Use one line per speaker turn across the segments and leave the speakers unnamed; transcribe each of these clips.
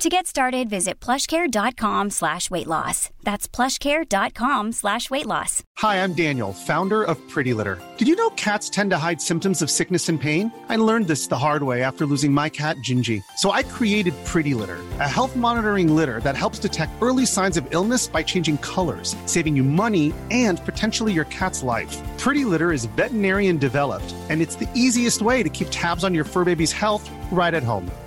To get started, visit plushcare.com slash weight loss. That's plushcare.com slash weight loss.
Hi, I'm Daniel, founder of Pretty Litter. Did you know cats tend to hide symptoms of sickness and pain? I learned this the hard way after losing my cat, Gingy. So I created Pretty Litter, a health monitoring litter that helps detect early signs of illness by changing colors, saving you money and potentially your cat's life. Pretty Litter is veterinarian developed, and it's the easiest way to keep tabs on your fur baby's health right at home.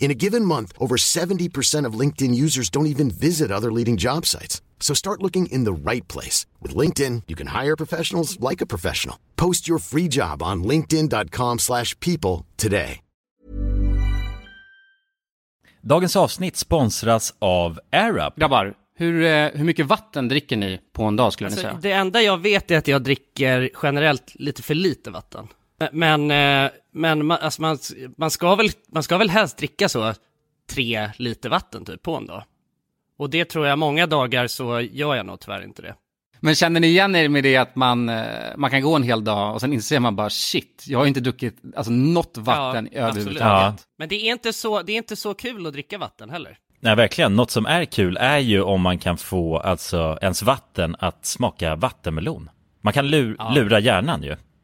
In a given month, over 70% of LinkedIn users don't even visit other leading job sites. So start looking in the right place. With LinkedIn, you can hire professionals like a professional. Post your free job on linkedin.com/people slash people today.
Dagens avsnitt sponsras av AirUp.
Grabbar, hur, eh, hur mycket vatten dricker ni på en dag skulle ni
Alltså,
säga?
det enda jag vet är att jag dricker generellt lite för lite vatten. Men, eh, men man, alltså man, man, ska väl, man ska väl helst dricka så tre liter vatten typ på en dag. Och det tror jag många dagar så gör jag nog tyvärr inte det.
Men känner ni igen er med det att man, eh, man kan gå en hel dag och sen inser man bara shit, jag har ju inte druckit alltså, något vatten
Ja, absolut.
överhuvudtaget.
Men det är, inte så, det är inte så kul att dricka vatten heller.
Nej, verkligen. Något som är kul är ju om man kan få alltså ens vatten att smaka vattenmelon. Man kan lu- lura hjärnan ju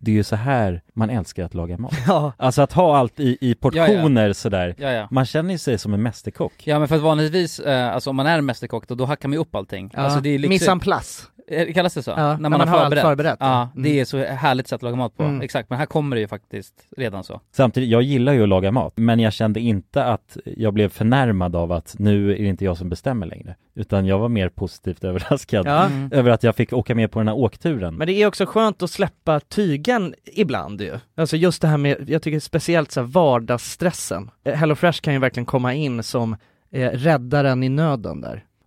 det är ju så här man älskar att laga mat.
Ja.
Alltså att ha allt i, i portioner sådär.
Ja, ja.
Man känner ju sig som en mästerkock.
Ja men för att vanligtvis, eh, alltså om man är en mästerkock då, då hackar man ju upp allting.
Ja.
Alltså det är
Mise en
liksom,
place.
Eh, kallas det så?
Ja, när man har allt förberett,
Ja,
ja.
det är så härligt sätt att laga mat på.
Mm.
Exakt, men här kommer det ju faktiskt redan så.
Samtidigt, jag gillar ju att laga mat, men jag kände inte att jag blev förnärmad av att nu är det inte jag som bestämmer längre. Utan jag var mer positivt överraskad
Ja.
över att jag fick åka med på den här åkturen.
Men det är också skönt att släppa tygen ibland ju. Alltså just det här med, jag tycker speciellt så här vardagsstressen. Eh, HelloFresh kan ju verkligen komma in som eh, räddaren i nöden där.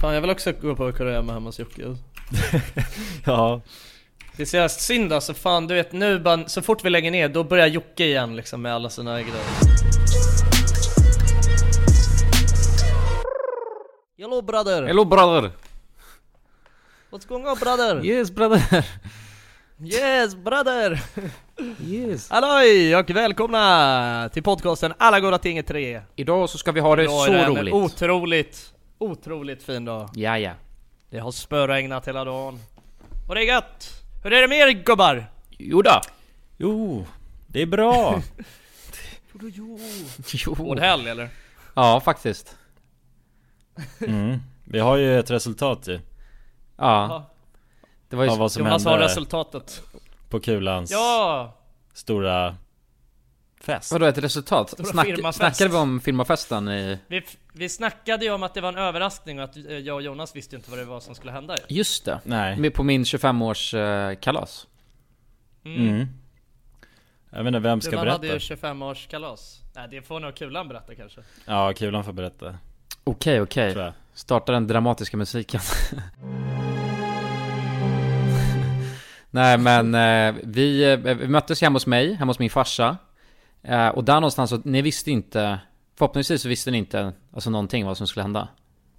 Fan jag vill också gå på Koreama hemma hos Jocke
Ja,
alltså. Det är så jävla synd alltså, fan du vet nu bara, så fort vi lägger ner då börjar Jocke igen liksom med alla sina grejer Hello brother!
Hello brother!
What's going on brother?
Yes brother!
Yes brother!
Yes!
Halloj och välkomna till podcasten Alla goda ting är tre!
Idag så ska vi ha det
Idag
så
är en
roligt.
Otroligt, otroligt fin dag
Ja, ja.
Det har spöregnat hela dagen Och det är gött! Hur är det med er gubbar?
Jodå!
jo, det är bra!
Hård helg eller?
Ja, faktiskt.
Vi har ju ett resultat ju,
Ja. Det var ju...
av vad som
Jonas har
eh,
hände
resultatet
på Kulans
Ja!
stora fest.
Vadå ett resultat? Snack,
firmafest.
snackade vi om firmafesten i...
Vi, vi snackade ju om att det var en överraskning och att eh, jag och Jonas visste ju inte vad det var som skulle hända ju.
Just det.
Nej.
Med- På min 25-års eh, kalas.
Mm. Jag vet inte vem ska
Du, man
berätta?
hade ju 25-årskalas. Nej det får nog Kulan berätta kanske.
Ja, Kulan får berätta,
Okej, okej.
tror jag.
Starta den dramatiska musiken. Nej men eh, vi, eh, vi möttes hemma hos mig, hemma hos min farsa. Eh, och där någonstans, så, ni visste inte, förhoppningsvis så visste ni inte alltså någonting vad som skulle hända.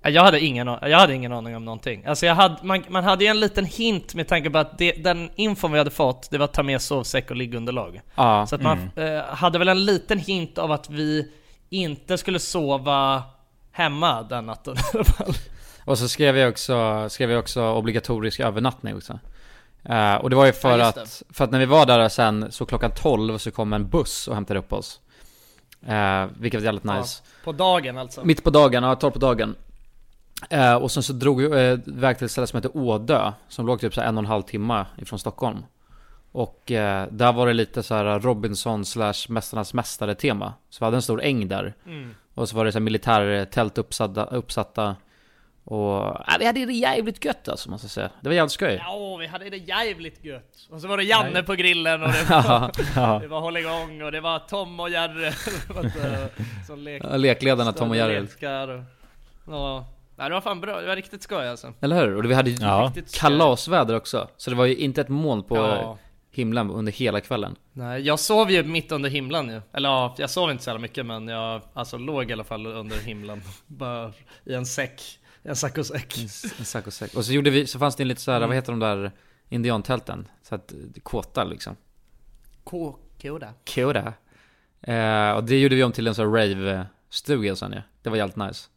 Nej, Jag hade ingen, a- jag hade ingen aning om någonting. Alltså jag hade, man, man hade ju en liten hint med tanke på att det, den infon vi hade fått, det var att ta med sovsäck och liggunderlag.
Ja,
Så att man eh, hade väl en liten hint av att vi inte skulle sova hemma den natten i alla fall.
och så skrev jag också, skrev jag också obligatorisk övernattning också. Eh, och det var ju för,
Ja, just det.
att, för att när vi var där sen så klockan 12 så kom en buss och hämtade upp oss. Eh, vilket var jävligt nice.
På dagen alltså.
Mitt på dagen, ja 12 på dagen. Eh, och sen så drog vi eh, iväg till ett ställe som heter Ådö, som låg typ så här en och en halv timme ifrån Stockholm. Och eh, där var det lite så här Robinson slash Mästarnas Mästare tema. Så vi hade en stor äng där. Och så var det så här militärtält uppsatta, uppsatta. Och ja, vi hade det jävligt gött alltså måste jag säga. Det var jävligt skoj.
Ja, vi hade det jävligt gött. Och så var det Janne på grillen och det
Ja.
var, det var hålligång och det var Tom och Jerry Det var inte- som lekte.
Lekledarna Tom och Jerry.
Lekar och- Ja. Nej det var fan bra, det var riktigt skoj alltså.
Eller hur? Och vi hade ju
Ja.
Riktigt skoj.
kalasväder också. Så det var ju inte ett moln på
Ja.
himlen under hela kvällen.
Nej, jag sov ju mitt under himlen ju. Eller ja, jag sov inte så jävla mycket men jag alltså, låg i alla fall under himlen. Bara i en säck. I en saccosäck.
En sack och säck. Och så gjorde vi, så fanns det en
Mm.
lite så här, vad heter de där indiantälten? Så att kåta liksom.
K- Koda.
Koda. Eh, och det gjorde vi om till en sån här rave-stuga sen ja. Det var jävligt nice.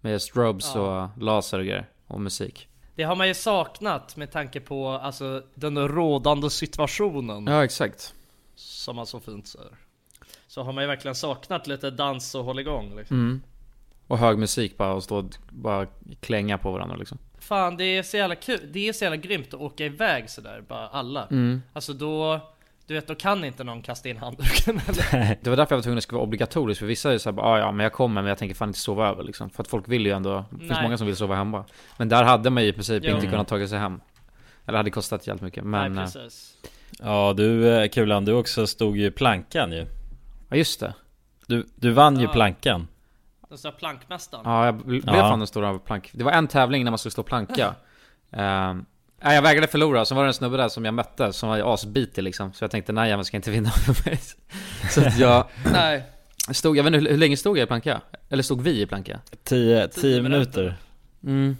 Med strobes
Ja.
och laser och grejer. Och musik.
Det har man ju saknat med tanke på alltså, den rådande situationen
Ja, exakt.
som man så fint säger. Så har man ju verkligen saknat lite dans och hålligång liksom.
Mm. Och hög musik bara och stå och bara klänga på varandra liksom.
Fan det är så jävla kul, det är så jävla grymt att åka iväg sådär bara alla. Alltså då, du vet då kan inte någon kasta in handduken eller?
Det var därför jag var tvungen att det skulle vara obligatoriskt för vissa är ju såhär bara, "Ah, ja men jag kommer men jag tänker fan inte sova över liksom. För att folk vill ju ändå, det finns
Nej.
många som vill sova hemma. Men där hade man ju i princip
Jo. Mm.
inte kunnat ta sig hem. Eller hade kostat jävligt mycket. Men,
Nej
eh,
precis.
Ja du eh, Kulan, du också stod ju i plankan ju
ja just det.
Du, du vann ju
Ja.
plankan
Den stora plankmästaren.
Ja jag bl- blev
Ja.
fan den stora plank. Det var en tävling när man skulle stå och planka. Ehm, nej, jag vägrade förlora, så var det en snubbe där som jag mötte som var ju asbitig liksom. Så jag tänkte nej jag ska inte vinna över mig. Så att jag
Nej.
stod, jag vet inte hur, hur länge stod jag i planka? Eller stod vi i planka?
10
Tio
minuter
Mm.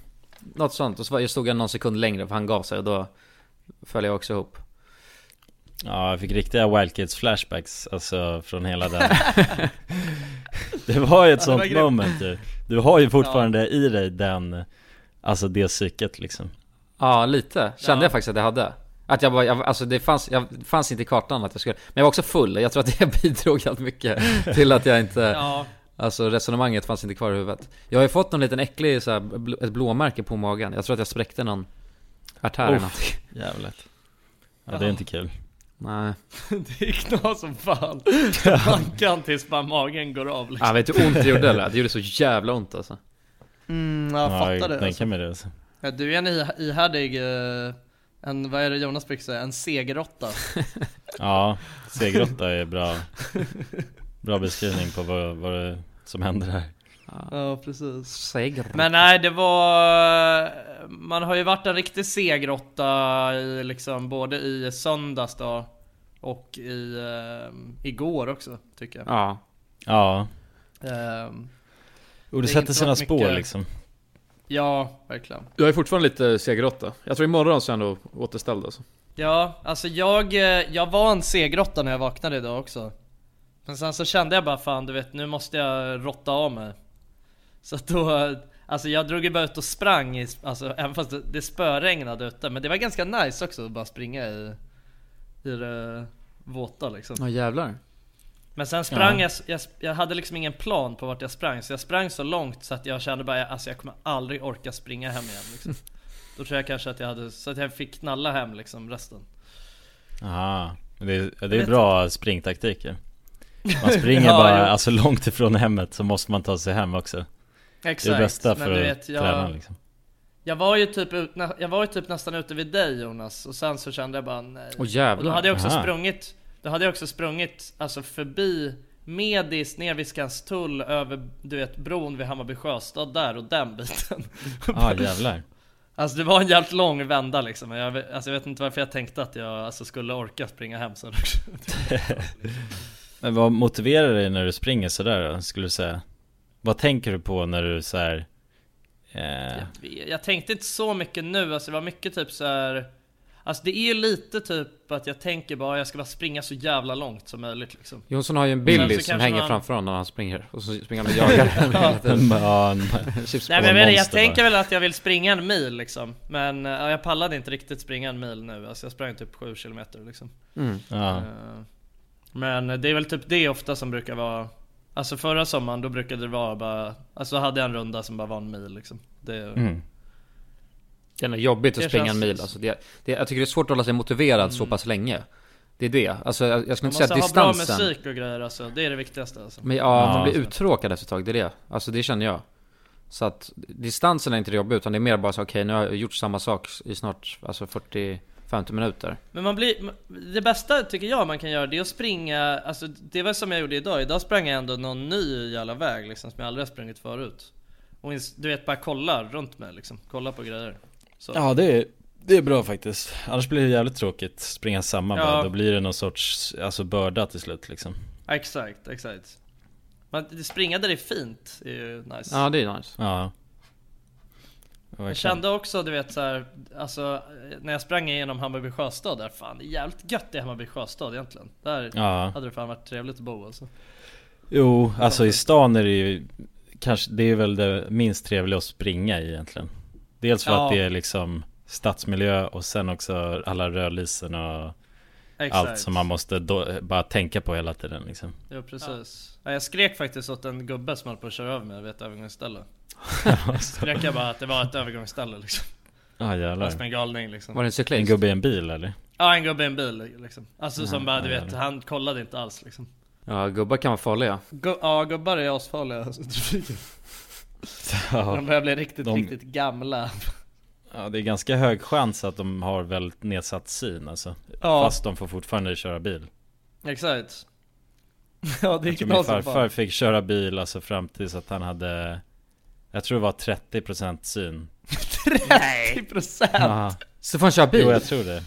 Något sånt. Och så var- jag stod jag någon sekund längre för han gav sig och då föll jag också ihop.
Ja, jag fick riktiga Wild Kids flashbacks Alltså från hela den Det var ju ett
det var
sånt
grymt.
moment ju Du har ju fortfarande i dig den Alltså det psyket liksom
Ja, lite. Kände
Ja.
jag faktiskt att jag hade. Att jag bara, jag, alltså det fanns, jag, det fanns inte i kartan att jag skulle. Men jag var också full. Jag tror att det bidrog jävligt mycket till att jag inte,
Ja,
alltså resonemanget fanns inte kvar i huvudet. Jag har ju fått någon liten äcklig så här, bl- ett blåmärke på magen. Jag tror att jag spräckte någon artär eller
Uff.
någonting.
Jävligt Ja det är inte kul
Nej.
det är knas som fan. Man kan tills bara magen går av liksom.
Ja, vet du hur ont det gjorde eller? Det gjorde så jävla ont alltså.
Mm, jag fattar det.
tänker mig det alltså.
Ja, du är en i- ihärdig, eh, en, vad är det Jonas brukar säga, en segeråtta.
Ja, segeråtta är bra Bra beskrivning på vad, vad det, som händer här
ja precis.
Seger.
Men nej det var, man har ju varit en riktig segeråtta i liksom både i söndags då och i, eh, igår också tycker jag.
Ja.
Ja,
Ehm,
och
Det
det
är
sätter
inte
sina
varit
spår
mycket-
liksom
ja, verkligen.
Jag är fortfarande lite segeråtta. Jag tror imorgon så är jag ändå återställd alltså.
Ja, alltså jag, eh, jag var en segrotta när jag vaknade idag också. Men sen så kände jag bara fan du vet nu måste jag rotta av mig. Så att då, alltså jag drog ju bara ut och sprang, i, alltså även fast det, det spöregnade ute. Men det var ganska nice också att bara springa i, i det våta liksom.
Ja jävlar.
Men sen sprang jag, jag, jag hade liksom ingen plan på vart jag sprang. Så jag sprang så långt så att jag kände bara alltså jag kommer aldrig orka springa hem igen liksom. Då tror jag kanske att jag hade, så att jag fick knalla hem liksom resten.
Aha. Det är, det
vet
är bra springtaktiker Man springer
Ja,
bara
jo.
alltså långt ifrån hemmet så måste man ta sig hem också
Exakt.
Det är det bästa för
men du
att
vet, jag,
träna liksom
jag, var ju typ, ut- nä- jag var ju typ nästan ute vid dig Jonas och sen så kände jag bara nej.
Åh
och då
jävlar.
hade jag också
Aha.
sprungit, då hade jag också sprungit alltså förbi Medis, ner vid Skanstull, över du vet bron vid Hammarby Sjöstad där och den biten.
Ja jävlar
Alltså det var en jävligt lång vända liksom. men Jag, vet- alltså, jag vet inte varför jag tänkte att jag alltså, skulle orka springa hem sen också.
Men vad motiverar dig när du springer sådär då, skulle du säga? Vad tänker du på när du såhär eh,
Jag, jag tänkte inte så mycket nu, alltså det var mycket typ så här. Alltså det är ju lite typ att jag tänker bara jag ska bara springa så jävla långt som möjligt liksom.
Jonsson har ju en
Sen
Billy
så
som
kanske
hänger
man-
framför honom när han springer och så springer han och jagar den hela tiden.
ja, en-
Nej men jag, vet, inte, jag
monster
tänker
bara.
väl att jag vill springa en mil liksom. Men eh, ja, jag pallade inte riktigt springa en mil nu. Alltså jag sprang typ 7 kilometer liksom.
ja.
Eh, Men det är väl typ det ofta som brukar vara Alltså förra sommaren då brukade det vara bara Alltså då hade jag en runda som bara var en mil liksom. Det,
Mm.
Det är jobbigt att
Det
springa
känns- Mm.
en mil alltså. det, det, Jag tycker det är svårt att hålla sig motiverad så pass länge Det är det, alltså jag, jag skulle
Man
inte säga
måste
att
ha bra
distansen
musik och grejer alltså. Det är det viktigaste alltså.
Men ja,
Ja.
man blir uttråkad efter ett tag, det är det Alltså det känner jag Så att distansen är inte det jobbiga utan det är mer bara så okej nu har jag gjort samma sak i snart alltså 40-50 minuter
Men man blir, det bästa tycker jag man kan göra det är att springa, alltså det var som jag gjorde idag, idag sprang jag ändå någon ny jävla väg liksom som jag aldrig har sprungit förut. Och ins- du vet bara kolla runt mig liksom, kolla på grejer. Så.
Ja det är, det är bra faktiskt Annars blir det jävligt tråkigt Springa samma
Ja.
bara Då blir det någon sorts alltså, börda till slut liksom
Ja, Exakt, exakt. Men det- springa där det är fint är ju nice.
Ja det är nice
Ja
Jag kände också du vet så här, alltså när jag sprang igenom Hammarby Sjöstad där, fan det är jävligt gött i Hammarby Sjöstad egentligen. Där
Ja.
hade det fan varit trevligt att bo alltså.
Jo, alltså i stan är det ju kanske, det är väl det minst trevliga att springa i egentligen. Dels för
Ja.
att det är liksom stadsmiljö och sen också alla rödlysen och allt som man måste då, bara tänka på hela tiden liksom.
Ja precis. Ja. Jag skrek faktiskt åt en gubbe som höll på att köra över mig vid ett övergångsställe. Skrek jag bara att det var ett övergångsställe liksom.
Ja jävlar.
Fast med en galning liksom.
Var det en
En
cyklist?
gubbe i en bil eller?
Ja en gubbe i en bil liksom. Alltså som bara du vet, han kollade inte alls liksom.
Ja, gubbar kan vara farliga.
Gu- ja gubbar är asfarliga alltså, i trafiken.
Ja.
De börjar bli riktigt,
De-
riktigt gamla.
ja, det är ganska hög chans att de har väldigt nedsatt syn alltså.
Ja.
Fast de får fortfarande köra bil.
Exakt. Ja det är
Jag tror min
knas som
farfar
fan.
fick köra bil alltså fram tills att han hade Jag tror det var 30% syn
30%!
Ja,
Så får han köra bil?
Jo jag tror det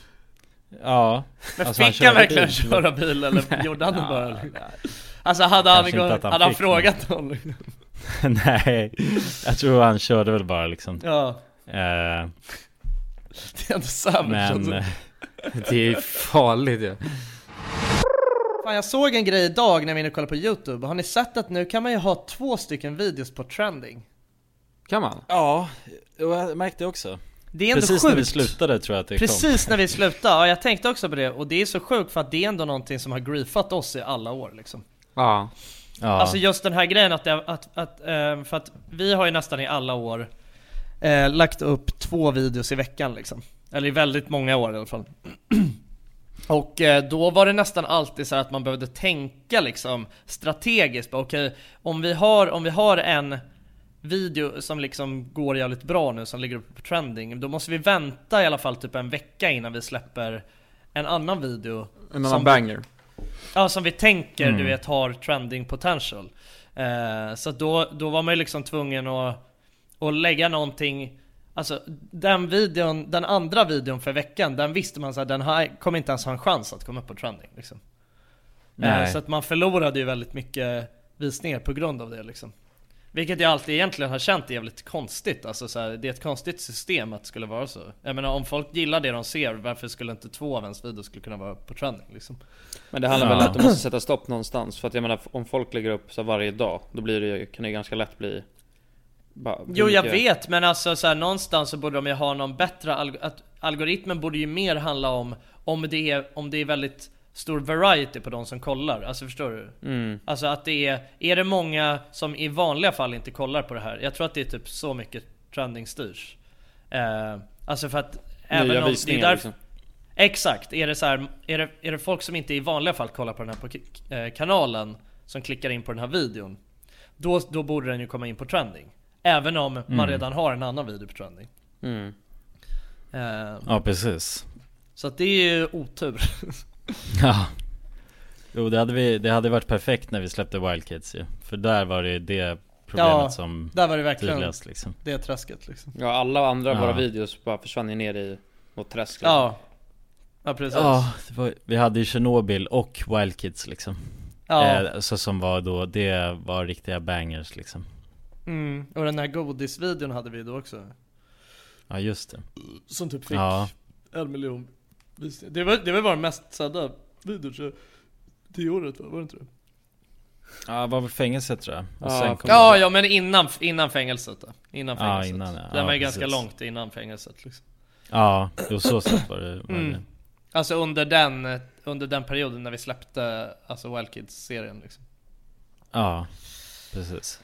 Ja
Men
Alltså, han
fick han
körde
verkligen
bil.
köra bil eller gjorde han det bara? liksom? Alltså hade han,
Kanske inte att han
hade han
fick,
frågat liksom? någon?
Nej Jag tror han körde väl bara liksom
Ja,
eh,
det är ändå sämre känns
Men
det.
eh,
Det är farligt ju.
Fan jag såg en grej idag när vi inne och kollade på youtube, har ni sett att nu kan man ju ha två stycken videos på trending?
Kan man?
Ja, och jag märkte också
Det är ändå
Precis när
sjukt!
vi liksom. slutade tror jag att det kom
Precis när vi slutade, ja jag tänkte också på det, och det är så sjukt för att det är ändå någonting som har griefat oss i alla år liksom
Ja.
ja.
Alltså just den här grejen att, det, att, att ehm, för att vi har ju nästan i alla år eh, lagt upp två videos i veckan liksom. Eller i väldigt många år i alla fall. Och eh, då var det nästan alltid så här att man behövde tänka liksom strategiskt. Bara, Okej, om, vi har, om vi har en video som liksom går jävligt bra nu som ligger uppe på trending. Då måste vi vänta i alla fall typ en vecka innan vi släpper en annan video.
En
som-
annan banger.
Ja, som vi tänker du vet har trending potential. Eh, så att då, då var man ju liksom tvungen att, att lägga någonting Alltså den videon, den andra videon för veckan, den visste man såhär, den här kommer inte ens ha en chans att komma upp på trending liksom. Eh,
Nej.
så att man förlorade ju väldigt mycket visningar på grund av det liksom. Vilket jag alltid egentligen har känt är jävligt konstigt, alltså så här, det är ett konstigt system att det skulle vara så. Jag menar om folk gillar det de ser, varför skulle inte två av ens videor skulle kunna vara på trending liksom?
Men det handlar
Ja.
väl om att de måste sätta stopp någonstans. För att jag menar, om folk lägger upp så här varje dag, då blir det, ju- kan det ju ganska lätt bli... Bara,
Jo jag
mycket-
vet men alltså så här, någonstans så borde de ju ha någon bättre alg att Algoritmen borde ju mer handla om om det, är, om det är väldigt stor variety på de som kollar, alltså förstår du?
Mm.
Alltså att det är, är det många som i vanliga fall inte kollar på det här? Jag tror att det är typ så mycket trending styrs eh, Alltså för att även
Nya
om,
visningar
det är
liksom.
Exakt, är det, så här, är, det, är det folk som inte i vanliga fall kollar på den här på- eh, kanalen som klickar in på den här videon då, då borde den ju komma in på trending. Även om
Mm.
man redan har en annan video på trending.
Mm.
Eh,
Ja precis
så att det är ju otur.
Ja Jo det hade, vi, det hade varit perfekt när vi släppte Wild Kids ju För där var det ju det problemet
Ja.
som
Där var det verkligen
tydligast liksom
det träsket liksom.
Ja, alla andra
Ja.
våra videos bara försvann ju ner i något träsk. liksom.
Ja. Ja precis. Ja.
Ja, det var, vi hade ju Tjernobyl och Wild Kids liksom eh, Så som var då, det var riktiga bangers liksom
Mm. Och den här godisvideon hade vi då också.
Ja just det
Som typ fick
Ja,
en miljon visningar. Det var, det var vår mest sedda video tror jag. Det året va? Var det inte det?
ja det var väl fängelset tror jag och
Ja,
sen kom
Ja, ja men innan, innan fängelset då. Innan
Ja,
fängelset.
innan, ja.
Den
Ja,
var ju
precis.
ganska långt innan fängelset liksom.
ja jo, så sett var det, var det.
Mm. Alltså under den, under den perioden när vi släppte alltså Wild Kids-serien liksom.
Ja, precis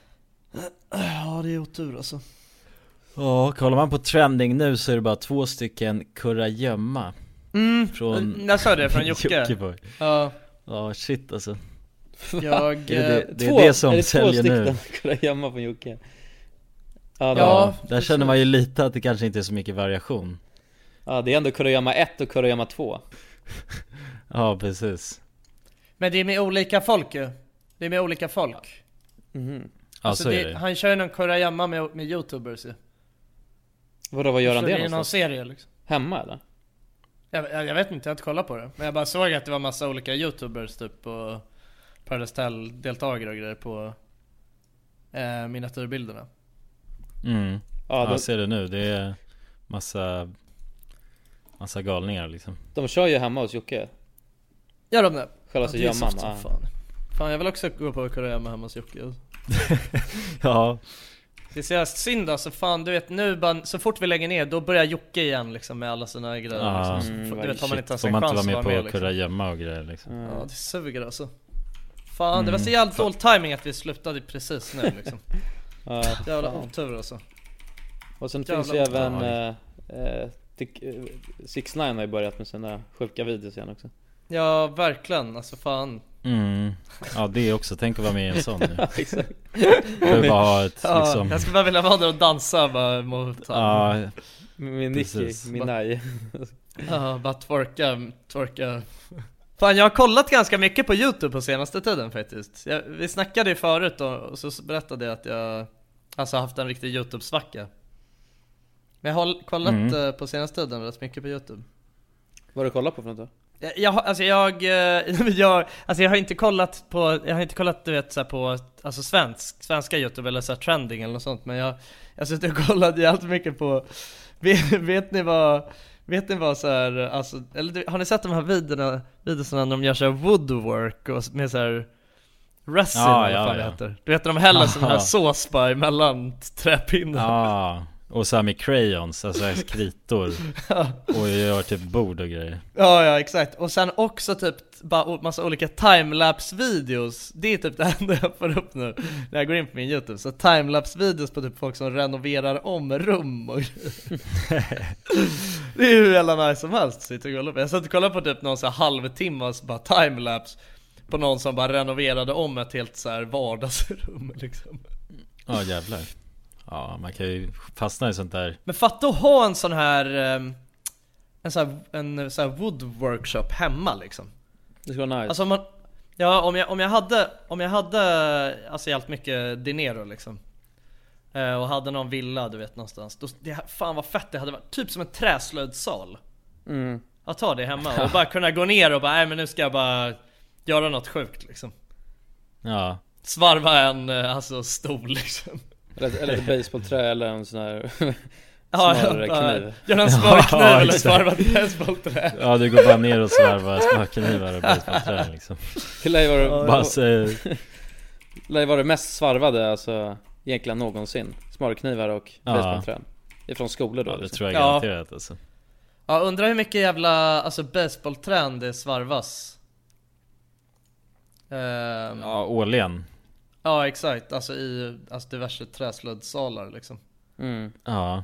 Ja det är otur alltså.
Ja, kollar man på trending nu så är det bara två stycken kurragömma
Mm,
Från
jag sa det från Jocke.
Jockiboi.
Ja,
Ja, shit alltså
jag...
Är det,
eh,
det, det är det som
är det
säljer
två
nu
stycken Kolla gömma från Jocke. Ja, det-
Ja,
Ja,
där känner man ju lite att det kanske inte är så mycket variation
ja, det är ändå Kurragömma 1 och Kurragömma 2.
Ja, precis
Men det är med olika folk ju. Det är med olika folk. Alltså,
Ja, så
det,
är Alltså det
Han kör ju någon kurragömma med, med youtubers ju.
Vadå, vad gör han
Så
det
är någon
någonstans?
serie liksom.
Hemma eller?
Jag, jag, jag vet inte, jag har inte kollat på det. Men jag bara såg att det var massa olika youtubers typ och Paradise Tell-deltagare och grejer på eh, miniatyrbilderna.
mm. Ja,
de,
jag ser det nu. Det är massa, massa galningar liksom.
de kör ju hemma hos Jocke.
Gör de det?
Själva
det är
gömman.
soft som
ja.
fan. Fan jag vill också gå på Kurragömma hemma hos Jocke
Ja,
Det är så jävla synd alltså, fan du vet nu bara, så fort vi lägger ner då börjar Jocke igen liksom med alla sina grejer
Ja.
liksom. så,
Mm,
Du vet har man
Ah, shit,
inte ens
får
en
man
chans
inte
att vara
vara med på
med liksom. Mm.
Kurragömma och grejer liksom.
Ja det suger alltså Fan det var så jävla dålig timing att vi slutade precis nu liksom
Ja,
Jävla
fan.
otur alltså
Och sen
Jävlar.
finns ju även...
Ja.
eh, eh, Dick- eh, Six Nine har ju börjat med sina sjuka videos igen också.
Ja verkligen, alltså fan
Mm. Ja det är också, tänk att vara med i en sån nu.
Exakt.
Du bara ha ett
ja,
liksom,
Jag skulle bara vilja vara där och dansa bara mot han.
ja,
Min Nicky,
Precis.
Minaj.
Ja, bara twerka, twerka Fan jag har kollat ganska mycket på youtube på senaste tiden faktiskt jag, Vi snackade ju förut och, och så berättade jag att jag Alltså haft en riktig youtube-svacka Men jag har håll- kollat
Mm.
eh, på senaste tiden rätt mycket på youtube
Vad har du kollat på för något då?
Jag, jag, har- alltså jag, eh, jag, alltså jag har inte kollat på, jag har inte kollat du vet så här på, alltså svensk, svenska youtube eller så här trending eller något sånt men jag, jag har suttit och kollat jävligt mycket på, vet, vet ni vad, vet ni vad så här, alltså, eller du- har ni sett de här videorna, videorna när de gör så här woodwork och s- med så här resin
Ja,
eller vad
ja,
fan det
ja.
heter? Du vet när de häller sån här
Ja.
sås bara emellan träpinnar?
ja. Och så här med crayons, alltså kritor. Och gör typ bord och grejer.
Ja, ja exakt. Och sen också typ bara o- massa olika timelapse-videos. Det är typ det enda jag får upp nu när jag går in på min youtube. Så timelapse-videos på typ folk som renoverar om rum och grejer. Det är ju hur jävla nice som helst. Sitter och kollar på. Jag satt och kollade på typ någon så här halvtimmas bara timelapse på någon som bara renoverade om ett helt så här vardagsrum liksom.
Ja jävlar. Ja man kan ju fastna i sånt där.
Men fatta att ha en sån här ehm, en sån här, en sån här woodworkshop hemma liksom.
Det skulle vara nice.
Alltså om man, ja om jag, om jag hade, om jag hade alltså jävligt mycket dinero liksom eh, Och hade någon villa du vet någonstans, då, det, fan vad fett det hade varit, typ som en träslöjdsal
Mm.
Att ta det hemma och bara kunna gå ner och bara nej men nu ska jag bara göra något sjukt liksom
Ja.
Svarva en eh, alltså stol liksom
Eller, eller ett baseballträ eller en sån här...
jag bara-
Smörkniv.
Göra en smörkniv
Ja,
eller
exakt.
svarva ett basebollträ
Ja du går bara ner och svarvar smörknivar och basebollträn liksom.
Det lär ju vara-
Bara så,
det lär ju vara det mest svarvade alltså, egentligen någonsin. Smörknivar och
Ja.
basebollträn. Ifrån skolor då.
ja det
liksom.
tror jag
Ja.
garanterat alltså.
Ja undrar hur mycket jävla alltså basebollträn det svarvas Ehm,
Ja årligen.
Ja exakt, alltså i alltså diverse träslöjdsalar liksom
Mm.
Ja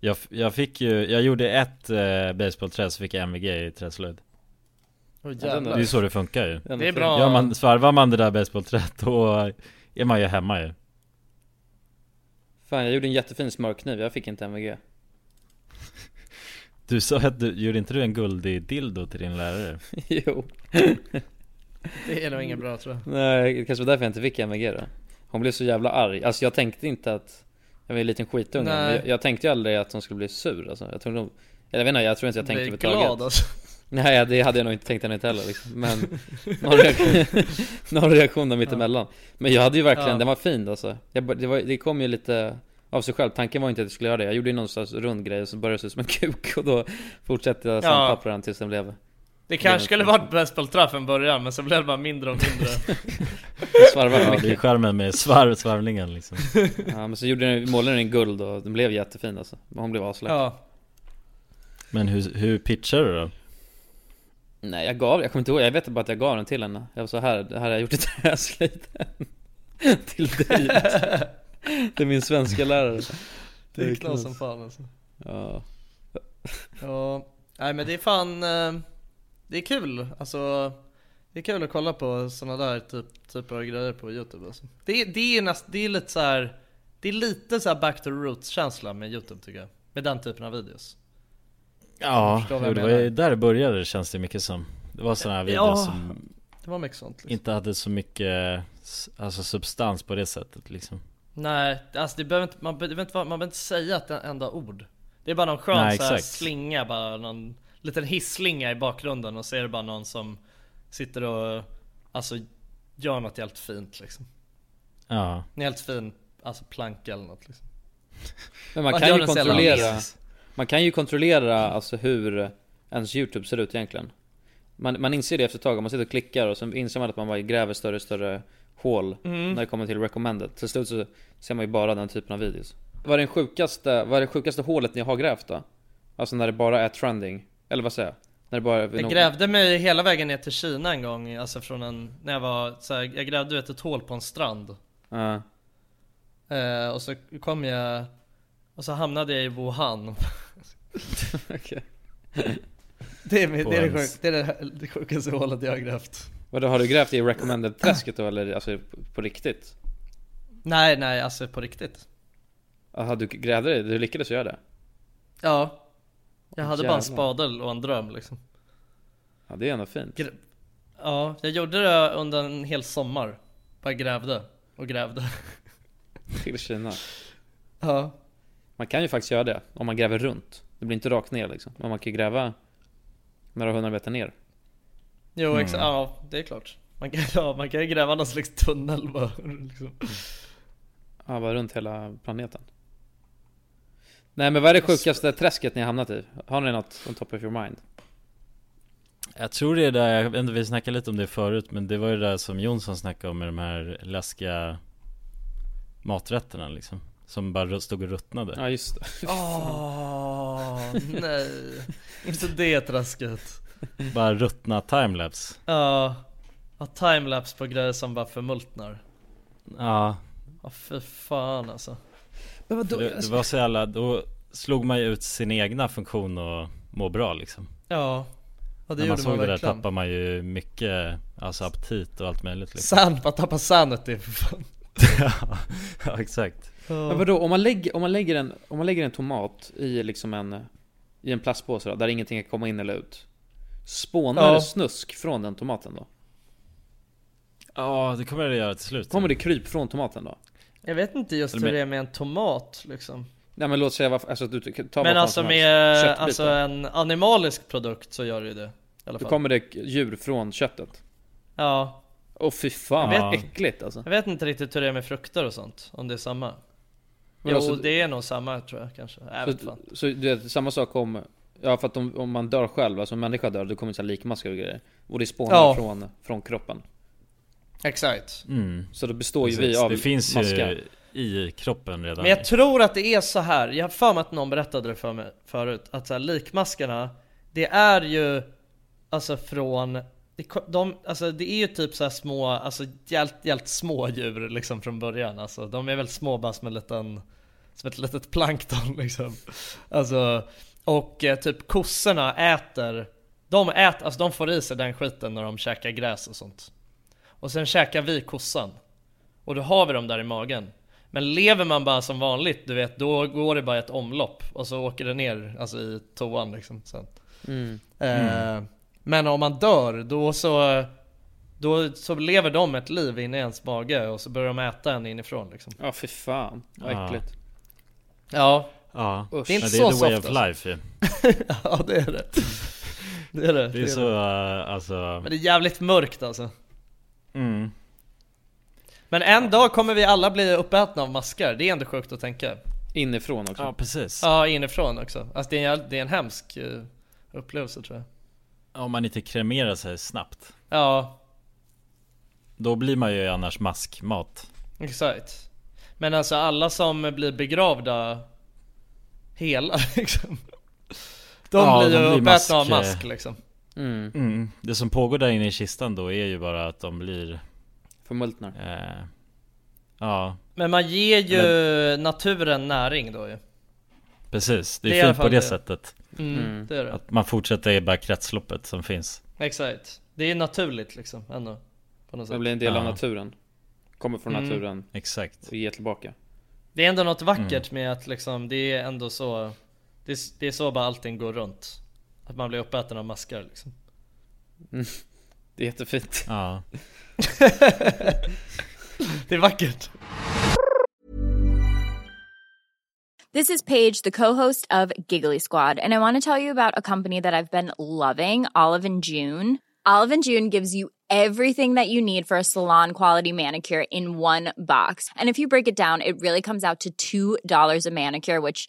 jag, f- jag fick ju, jag gjorde ett eh, basebollträ så fick jag MVG i träslöjd
Åh
Det
jävlar
är ju så det funkar ju
ändå
Det är
kul.
bra.
Gör man, svarvar man det där basebollträet då är man ju hemma ju
Fan jag gjorde en jättefin smörkniv, jag fick inte MVG.
Du sa att du, gjorde inte du en guldig dildo till din lärare?
jo.
Det är nog inget bra tror jag
Nej, det kanske var därför jag inte fick MVG då. Hon blev så jävla arg. Alltså jag tänkte inte att... Jag var ju en liten skitunge.
Nej.
men Jag, jag tänkte ju aldrig att hon skulle bli sur alltså. Jag tror nog... Eller jag vet inte, jag tror inte jag tänkte
Blir glad alltså
Nej det hade jag nog inte tänkt henne inte heller liksom. Men någon reaktion, någon reaktion där mittemellan Men jag hade ju verkligen,
Ja.
den var fin alltså jag, bara- det, var, det kom ju lite av sig själv, tanken var inte att jag skulle göra det Jag gjorde ju någon slags rund grej och så började det se ut som en kuk Och då fortsatte jag sandpappa den tills den blev
Det kanske skulle varit basebollträ från början men så blev det bara mindre och mindre
svarvad
Ja, det är
mycket
skärmen med svarv, svarvlingen liksom
ja, Men så gjorde den, målade den i guld och den blev jättefin alltså Men hon blev aslack
Ja
Men hur, hur pitchar du då?
Nej jag gav, jag kommer inte ihåg, jag vet bara att jag gav den till henne Jag var så här, det här har jag gjort i träslöjden Till dig Det är min svenska lärare
Det
Det är
är knas
knas.
som fan alltså
Ja
Ja, nej men det är fan eh, Det är kul alltså Det är kul att kolla på såna där typ, typer av grejer på youtube alltså. det, är- det är näst, det är lite så här. Det är lite så här back to roots känsla med youtube tycker jag Med den typen av videos
Ja,
förstår vad jag
det var ju där det började känns det mycket som Det var sådana här videos
Ja.
som
Det var mycket sånt liksom.
inte hade så mycket s- Alltså substans på det sättet liksom
Nej, alltså det behöver inte, man, be- det behöver inte, vara- man behöver inte säga ett enda ord Det är bara någon skön
Nej,
så här
exakt.
slinga, bara någon liten hisslinga i bakgrunden och så är det bara någon som sitter och alltså gör något helt fint liksom
Ja,
En helt fin alltså planka eller något liksom.
Men man
Man
kan
gör
ju
den sällan.
kontrollera Man kan ju kontrollera alltså hur ens YouTube ser ut egentligen Man, man inser det efter ett tag, om man sitter och klickar och så inser man att man bara gräver större och större hål När det kommer till recommended Till slut så ser man ju bara den typen av videos Vad är, den sjukaste, vad är det sjukaste hålet ni har grävt då? Alltså när det bara är trending Eller vad säger jag? När det bara är
Jag grävde mig hela vägen ner till Kina en gång, alltså från en, när jag var så här, jag grävde ut ett hål på en strand
Ja.
eh, Och så kom jag, och så hamnade jag i Wuhan
Okej.
Det är, mitt- det, är det,
På
sjuk, det är det- det sjukaste hålet jag har grävt
Vadå, har du grävt i recommended-träsket då eller alltså på riktigt?
Nej nej alltså på riktigt
Jaha, du grävde det? Du lyckades göra det?
Ja Jag hade bara
Jävlar.
en spadel och en dröm liksom
Ja, det är ändå fint
Grä- Ja, jag gjorde det under en hel sommar Bara grävde och grävde
Till Kina
Ja
Man kan ju faktiskt göra det om man gräver runt. Det blir inte rakt ner liksom. Men man kan ju gräva några hundra meter ner.
Jo
Mm.
exa- ja det är klart man kan, ja, man kan ju gräva någon slags tunnel bara liksom.
Ja, bara runt hela planeten. Nej men vad är det sjukaste träsket ni har hamnat i? Har ni något on top of your mind?
Jag tror det är där, jag vet inte, vi snackade lite om det förut Men det var ju det där som Jonsson snackade om med de här läskiga maträtterna liksom Som bara stod och ruttnade
Ja just det.
Åh nej Inte det trasket
Bara ruttna timelapse
Ja Ja timelapse på grejer som bara förmultnar
Ja,
Ja fy fan alltså
Men vadå?
det, det var så jävla, då slog man ju ut sin egna funktion och må bra liksom
Ja Ja det
När man
gjorde man,
såg det där
verkligen
tappade man ju mycket, alltså aptit och allt möjligt liksom.
San, bara tappa sanity för fan
ja, ja, exakt
Men vadå, om man lägger, om man lägger, en, om man lägger en tomat i liksom en, i en plastpåse då, där ingenting kan komma in eller ut. Spånar
Ja.
det snusk från den tomaten då?
Ja, det kommer det göra till slut
Kommer det kryp från tomaten då?
Jag vet inte just
Eller
hur
med-
det är med en tomat liksom
Nej men låt säga varför, alltså du tar vad
Men
fan
alltså
som helst.
med
Köttbitar.
alltså en animalisk produkt så gör det ju det i alla
Då
fall.
kommer det djur från köttet.
Ja,
Åh fy fan
Jag
vad
vet-
äckligt alltså.
jag vet inte riktigt hur det är med frukter och sånt, om det är samma
Men
Jo
alltså-
det är nog samma tror jag kanske, jag vet
Så,
fan
så du vet, samma sak om, ja för att om, om man dör själv, alltså om människa dör, då kommer det så här likmaskar och grejer. Och det spånar
Ja.
från, från kroppen.
Exakt
Mm.
Så då består ju
Precis.
vi av
Det finns
maskar.
ju i kroppen redan
Men jag tror att det är så här. jag har för mig att någon berättade det för mig förut Att så här, likmaskarna, det är ju Alltså från det, ko- de, alltså det är ju typ så här små, alltså jävligt, jävligt små djur liksom från början alltså. De är väl små bara som en liten Som ett litet plankton liksom Alltså Och eh, typ kossorna äter De äter, alltså de får i sig den skiten när de käkar gräs och sånt Och sen käkar vi kossan och då har vi dem där i magen. Men lever man bara som vanligt, du vet, då går det bara i ett omlopp och så åker det ner alltså, i toan liksom sen. Eh, men om man dör, då så, då så lever de ett liv inne i ens mage och så börjar de äta en inifrån liksom.
Ja fy fan, vad
Ja.
äckligt.
Ja,
Ja,
Usch.
Det är inte
Ja,
så
det är the way
soft, alltså.
of life ju.
ja det är det. Det är det.
Det är så, uh, alltså
Men det är jävligt mörkt alltså.
mm.
Men en dag kommer vi alla bli uppätna av maskar, det är ändå sjukt att tänka.
Inifrån också.
Ja precis
Ja, inifrån också. Alltså det är en, jävla- det är en hemsk eh, upplevelse tror jag.
Om man inte kremerar sig snabbt
Ja,
Då blir man ju annars maskmat
Exakt. Men alltså alla som blir begravda hela liksom. De
Ja,
blir
de
ju
blir
uppätna av
mask- eh.
mask liksom.
Mm.
Det som pågår där inne i kistan då är ju bara att de blir
Förmultnar.
eh, Ja
Men man ger ju naturen näring då ju.
precis, det
Det
är,
är i alla
fint på
fall
det,
det.
sättet
Mm, Det är det.
Att man fortsätter i bara kretsloppet som finns
Exakt. Det är naturligt liksom ändå. På något
Det
sätt.
blir en del av
Ja.
naturen. Kommer från
Mm.
naturen
Exakt
och ger tillbaka.
Det är ändå något vackert
Mm.
med att liksom det är ändå så. Det är, det är så bara allting går runt. Att man blir uppäten av maskar liksom.
Det är jättefint.
Ja
Det är vackert.
This is Paige, the co-host of Giggly Squad, and I want to tell you about a company that I've been loving, Olive and June. Olive and June gives you
everything that you need for a salon quality manicure in one box. And if you break it down, it really comes out to $2 a manicure, which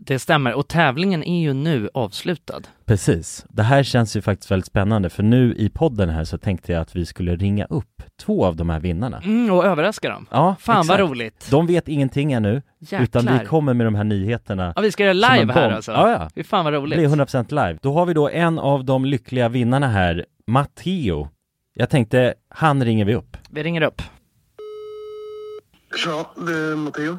Det stämmer. Och tävlingen är ju nu avslutad.
Precis. Det här känns ju faktiskt väldigt spännande för nu i podden här så tänkte jag att vi skulle ringa upp två av de här vinnarna.
Mm, och överraska dem.
Ja,
Fan vad
exakt.
roligt.
De vet ingenting ännu,
Jäklar.
utan vi kommer med de här nyheterna.
Ja, vi ska göra
som en
live här
bomb.
alltså.
Ja, ja.
Fy fan vad
Det blir
roligt.
100% live. Då har vi då en av de lyckliga vinnarna här, Matteo. Jag tänkte, han ringer vi upp.
Vi ringer upp.
Ja, det är Matteo.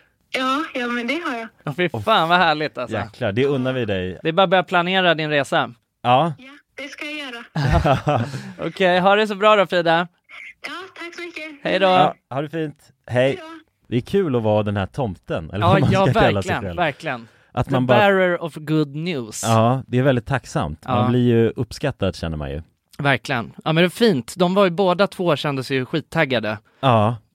Ja, ja, men det har jag.
Ja. Fy fan vad härligt alltså.
Jäklar, det unnar vi dig.
Det är bara att börja planera din resa.
Ja,
Ja, det ska jag göra.
Okej, ha det så bra då Frida.
Ja, tack så mycket.
Hej då.
ja ha det fint. Hej.
Hej då.
Det är kul att vara den här tomten, eller
Ja,
vad man
ja
ska kalla sig
verkligen,
själv.
verkligen.
Att
The
man bara,
bearer of good news.
ja, det är väldigt tacksamt.
Ja.
Man blir ju uppskattad känner man ju.
Verkligen. Ja men det är fint. De var ju båda två kändes ju skittaggade.
Ja.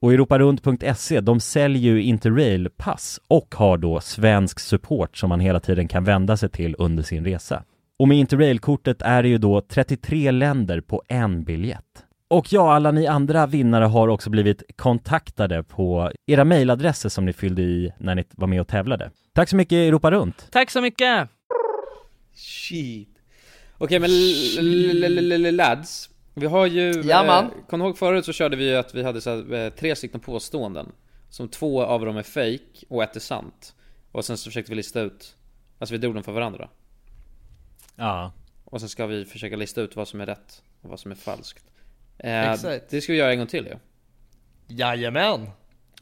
Och europarunt.se, E, de säljer ju Interrail-pass och har då svensk support som man hela tiden kan vända sig till under sin resa. Och med Interrail-kortet är det ju då 33 länder på en biljett. Och ja, alla ni andra vinnare har också blivit kontaktade på era mejladresser som ni fyllde i när ni var med och tävlade. Tack så mycket Europa Runt!
Tack så mycket!
Shit. Okej men l- l- l- l- lads. Vi har ju...
Ja, man.
kom ni ihåg förut så körde vi ju att vi hade så här, eh, tre stycken påståenden. Som två av dem är fake och ett är sant. Och sen så försökte vi lista ut... Alltså vi drog dem för varandra.
Ja.
Och sen ska vi försöka lista ut vad som är rätt och vad som är falskt. Eh,
Exakt.
Det ska vi göra en gång till ju.
Jajamän!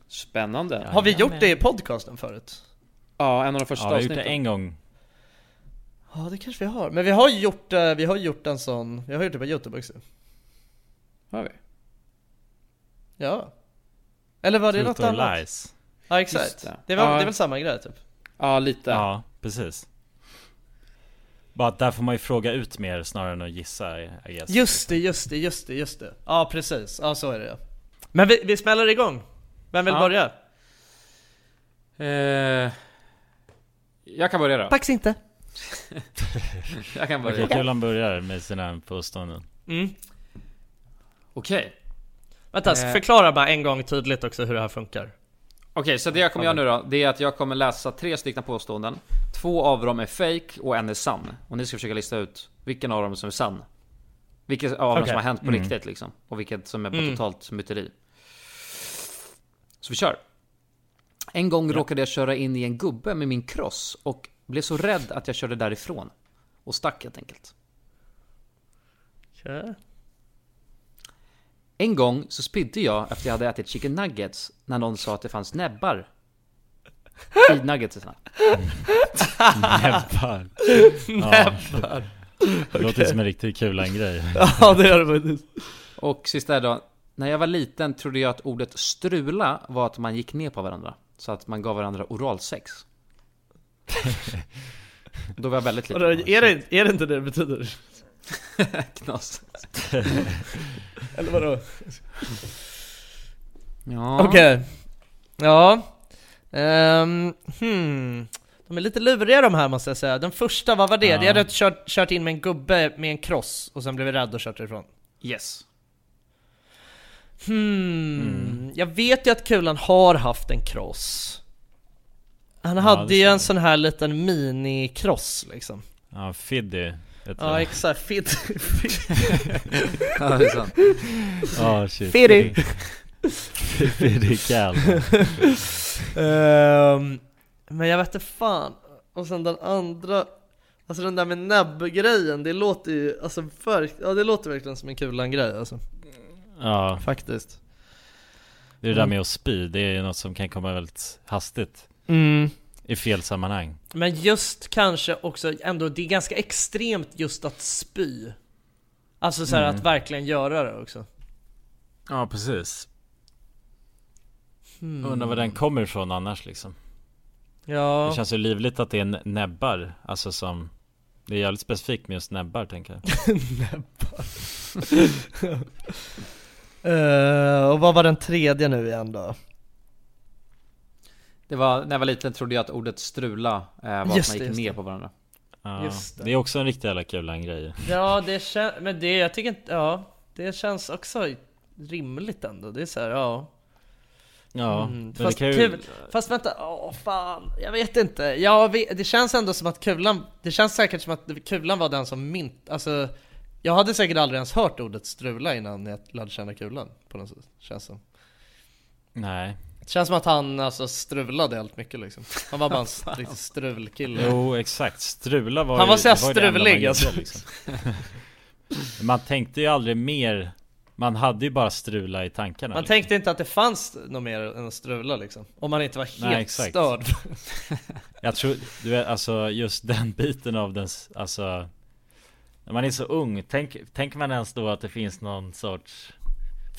Spännande.
Har vi gjort det i podcasten förut?
Ja, en av de första
Ja, vi har gjort
avsnitten.
det en gång.
Ja det kanske vi har, men vi har gjort, eh, vi har gjort en sån, vi har gjort det på youtube också
Har vi?
Ja Eller var det
Truth
något
or
annat?
lies.
Ja
Just
exakt,
det.
det. var,
Ja.
det är väl samma grej typ?
Ja, lite.
Ja, precis. Bara att där får man ju fråga ut mer snarare än att gissa, I guess.
Just det, just det, just det, just det Ja precis, ja så är det ja Men vi, vi smäller igång! Vem vill
Ja.
börja?
Eh, jag kan börja då.
Pax inte!
Jag kan börja.
Okej, Kulan börjar med sina påståenden.
Mm.
Okej.
Vänta,
Eh.
förklara bara en gång tydligt också hur det här funkar
Okej, så det jag kommer göra nu då, det är att jag kommer läsa tre stycken påståenden. Två av dem är fake och en är sann. Och ni ska försöka lista ut vilken av dem som är sann. Vilken av dem
Okej.
som har hänt på
Mm.
riktigt liksom. Och vilket som är bara
Mm.
totalt myteri. Så vi kör. En gång råkade jag köra in i en gubbe med min cross och blev så rädd att jag körde därifrån. Och stack helt enkelt.
Okej.
En gång så spydde jag efter jag hade ätit chicken nuggets när någon sa att det fanns näbbar. I nuggetsarna.
Näbbar.
Näbbar.
Det låter som en riktigt Kulan-grej.
Ja det gör det faktiskt
Och sista är då. När jag var liten trodde jag att ordet strula var att man gick ner på varandra. Så att man gav varandra oralsex. Då var jag väldigt
Och
liten.
då, är, det, är det inte det det betyder?
Knas.
Eller vadå?
Ja.
Okej. Ja. Ehm, hmm. De är lite luriga de här måste jag säga. Den första, vad var det?
Ja.
Det hade kört, kört in med en gubbe med en kross och sen blev vi rädd och kört ifrån.
Yes.
Hmm. Jag vet ju att Kulan har haft en kross. Han hade
det
ju
stämmer.
en sån här liten mini-kross liksom.
Ja, Fiddy. vet du.
Ja exakt, fit.
Ja, det är sant.
Ja, shit.
Fiddy.
Fiddy Cal.
Ehm, men jag vet inte fan. Och sen den andra, alltså den där med näbbgrejen, det låter ju alltså verk, ja, det låter verkligen som en Kulan-grej alltså.
Ja,
Faktiskt.
det är det där med att spy. Det är ju något som kan komma väldigt hastigt. I fel sammanhang.
Men just kanske också ändå, det är ganska extremt just att spy. Alltså så här att verkligen göra det också.
Ja, precis. Undrar var den kommer ifrån annars liksom.
Ja,
Det känns ju livligt att det är n- näbbar. Alltså som... Det är jävligt specifikt med just näbbar tänker jag.
Eh, och vad var den tredje nu igen då?
Det var, när jag var liten trodde jag att ordet strula eh, var att man
Just
gick
det, just
ner
det.
på varandra.
Ja,
Just det.
det. är också en riktig jävla Kulan-grej.
Ja, det känns, men det, jag tycker inte, ja, det känns också rimligt ändå. Det är så här, ja.
Ja,
Mm,
men
fast,
det kan ju...
kul, fast vänta, åh fan, jag vet inte. Jag vet, det känns ändå som att kulan, det känns säkert som att kulan var den som mynt, alltså jag hade säkert aldrig ens hört ordet strula innan jag lärde känna kulan på något sätt, känns som.
Nej.
Det känns som att han alltså strulade helt mycket liksom. Han var bara en st- riktig strulkille.
Jo, exakt. Strula var
Han var
ju-
så här alltså.
det ju det enda man
liksom.
strulig,
gjorde,
alltså.
liksom. Man tänkte ju aldrig mer
Man hade ju bara strula i tankarna liksom.
Man tänkte inte att det fanns något mer än att strula liksom. Om man inte var helt
Nej, exakt.
störd.
Jag tror, du vet, alltså just den biten av den, s- alltså När man är så ung, tänk, tänker man ens då att det finns någon sorts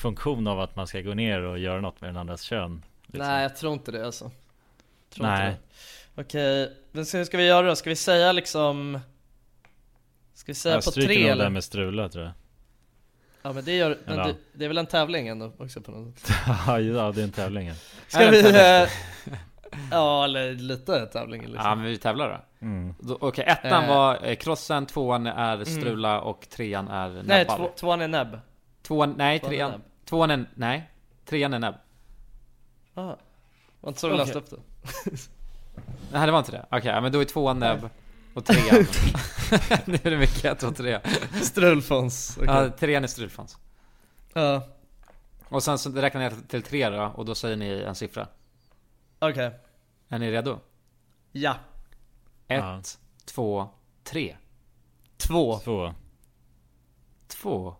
funktion av att man ska gå ner och göra något med den andras kön? liksom.
Nej jag tror inte det alltså. Tror
Nej.
Inte det. Okej, men så hur ska vi göra då? Ska vi säga liksom... Ska vi säga
Jag
på
stryker
tre
nog
eller?
det med strula tror jag
Ja men det gör... Men
Eller?
det, det är väl en tävling ändå också på något sätt?
Ja, ja, det är en tävling här.
Ska vi... eh, ja eller lite tävling liksom.
Ja men vi tävlar då.
Mm.
då Okej, ettan
Eh.
var eh, krossen, tvåan är strula och trean är näbbar.
Mm. Nej, två, tvåan är näbb.
Tvåan, nej
Tvåan är
trean.
näbb.
Tvåan är, nej. Trean är näbb.
Ah. Var inte så du läste upp det?
Nej det var inte det. Okej, ja, men då är tvåan näbb och trean. nu är det mycket ett och tre.
Strulfons. okej.
Ja, trean är strulfans.
Ja.
Och sen så räknar jag till tre då och då säger ni en siffra.
Okej.
Är ni redo?
Ja.
Ett, två, tre.
Två.
Två.
Två.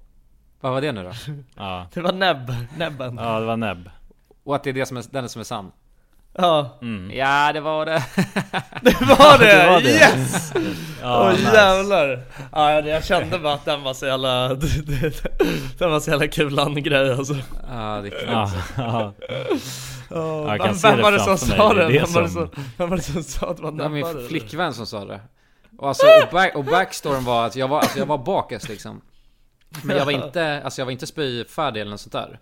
Vad var det nu då?
Ja.
Det var näbb. Näbben.
Ja det var näbb
Och att det är det som är, den som är sann.
Ja.
Mm.
Mm. Ja, det var det.
Det var det!
det var det.
Yes!
Ja,
Åh
nice.
jävlar! Ja, jag kände bara att den var så jävla... den var så jävla kulan grej alltså.
Ja, det är kul.
Ja, ja.
Ja,
Jag kan
vem
se
vem
det
var det som
framför mig.
sa
Det är
det?
det
Vem var det
som-
som- vem var det som sa att man
Det var
nappade?
min flickvän som sa det. Och, alltså, och, back, och backstoryn var att jag var, alltså, jag var bakis liksom. Men jag var inte, alltså, jag var inte spyfärdig eller något sånt där.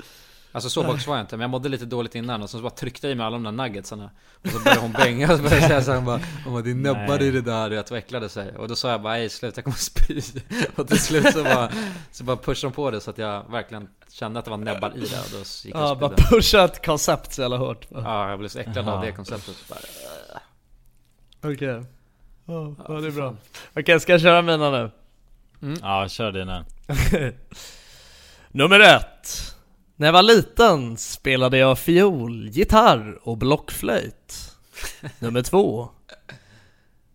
Alltså så bakis var jag inte, men jag mådde lite dåligt innan och så bara tryckte jag i mig alla de där nuggetsarna. Och så började hon bänga och så började jag säga såhär, hon bara, hon bara det är nubbar i det där, jag äcklade sig. Och då sa jag bara, nej slut jag kommer spy. Och till slut så bara, så bara pushade hon på det så att jag verkligen kände att det var näbbar i det och då gick jag
Ja,
och
bara
spydde.
pusha ett koncept så jävla hårt.
Ja, jag blev så äcklad av
Jaha.
det konceptet. Bara, "Ugh."
Okej. Ja, ja, det är bra. Okej, ska jag köra mina nu?
Mm.
Ja, kör dina
Nummer ett. När jag var liten spelade jag fiol, gitarr och blockflöjt. Nummer två.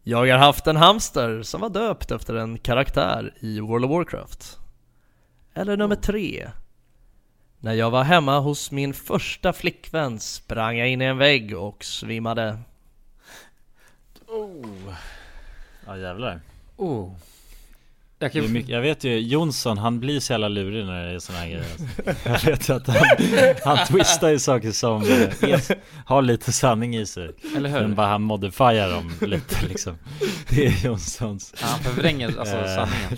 Jag har haft en hamster som var döpt efter en karaktär i World of Warcraft. Eller nummer tre. När jag var hemma hos min första flickvän sprang jag in i en vägg och svimmade.
Ja jävlar
Oh. Jag
Det
kan
är
ju
mycket, jag vet ju, Jonsson han blir så jävla lurig när det är såna här grejer alltså. Jag vet ju att han, han twistar ju saker som eh, är, har lite sanning i sig
Eller hur?
Men bara han modifierar dem lite liksom Det är Jonssons
Ja, han förvränger alltså
Eh,
sanningen.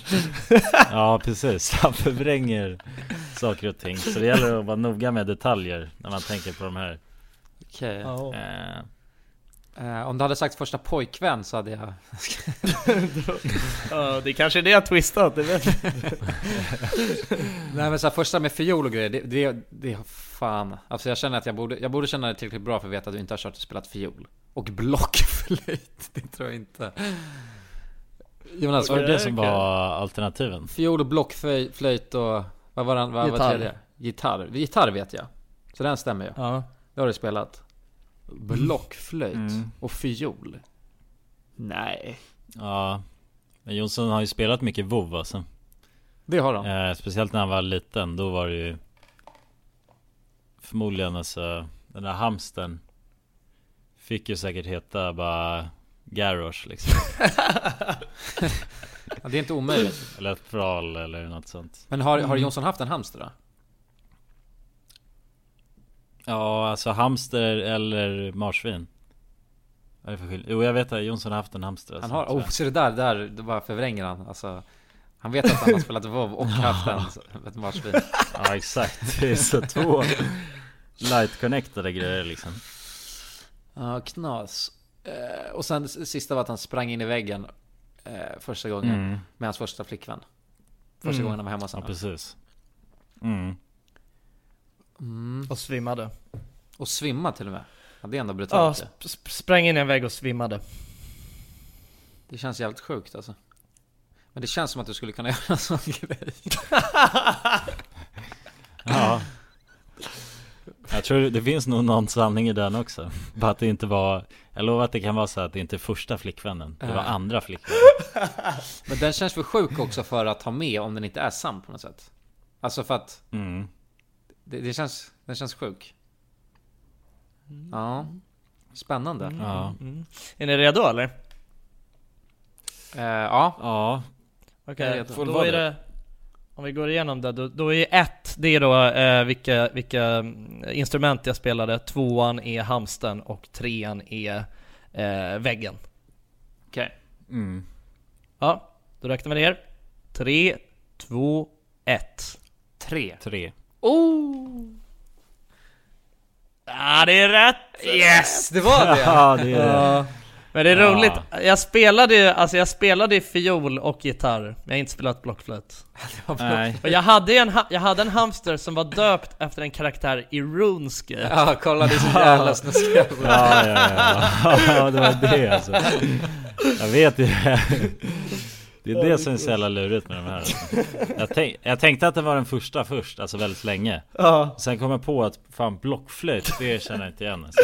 Ja precis, han förvränger saker och ting Så det gäller att vara noga med detaljer när man tänker på de här
Okej.
eh,
Eh, om du hade sagt första pojkvän så hade jag...
Ja, det kanske är det jag twistat, det vet jag.
Nej men så här, första med fiol och grejer, det, det, det fan. Alltså jag känner att jag borde, jag borde känna det tillräckligt bra för att veta att du inte har kört och spelat fiol. Och blockflöjt, det tror jag inte. Jonas,
Var
var
det det som var alternativen?
fiol och blockflöjt och... Vad var den, vad,
Gitarr.
Vad tredje? Gitarr. Gitarr vet jag. Så den stämmer ju.
Ja.
Det har du spelat. Blockflöjt
Mm.
och fiol. Nej.
Ja Men Jonsson har ju spelat mycket WoW alltså
Det har de.
Eh, speciellt när han var liten, då var det ju Förmodligen alltså Den där hamsten Fick ju säkert heta bara Garrosh liksom
Ja, det är inte omöjligt.
Eller ett Thrall eller något sånt
Men har, har Jonsson haft en hamster då?
Ja alltså hamster eller marsvin Vad är det för skillnad? Jo jag vet att Jonsson har haft en hamster
Han
alltså,
har,
tror
oh,
jag.
så det där, det där det bara förvränger han. Alltså, han vet att han har spelat WoW och haft en, ett marsvin.
Ja exakt, det är så två Light connectade grejer liksom
Ja, knas. Eh, och sen s- sista var att han sprang in i väggen eh, första gången
Mm.
med hans första flickvän. Första gången han var hemma hos
Ja
henne.
precis mm.
Och svimmade.
Och svimma till och med. Ja, det är ändå
Ja,
brutalt.
sp-
det.
sp- sprang in i en vägg och svimmade.
Det känns jävligt sjukt alltså. Men det känns som att du skulle kunna göra en sån grej.
Ja Jag tror det finns nog någon sanning i den också Bara att det inte var Jag lovar att det kan vara så att det inte är första flickvännen Det var
Ja.
andra flickvännen
Men den känns för sjuk också för att ha med om den inte är sann på något sätt. Alltså för att det, det, känns, den känns sjuk. Ja. Spännande.
Ja.
Är ni redo eller?
Eh, ja.
Ja,
Jag är
Okej,
redo.
Får det
då
vara
är
det?
det... Om vi går igenom det, då, då är ett, det är då eh, vilka, vilka mm, instrument jag spelade, tvåan är hamsten och trean är eh, väggen.
Okej.
mm.
Ja, då räknar vi ner. Tre, två, ett.
Tre.
tre
Ah, det är rätt!
Yes! Det var det!
Ja det är det
Ja. Men det är
Ja.
roligt, jag spelade ju, alltså jag spelade ju fiol och gitarr, men jag har inte spelat blockflöjt.
Nej
Och jag hade ju en, ha- jag hade en hamster som var döpt efter en karaktär i RuneScape.
Ja, kolla det är så jävla snuskiga.
Ja, ja, ja. ja, det var det alltså. Jag vet ju. Det är det som är så jävla lurigt med de här. Jag, tänk, jag tänkte att det var den första först, alltså väldigt länge.
Ja.
Sen kom jag på att fan blockflöjt, det känner jag inte igen. Alltså.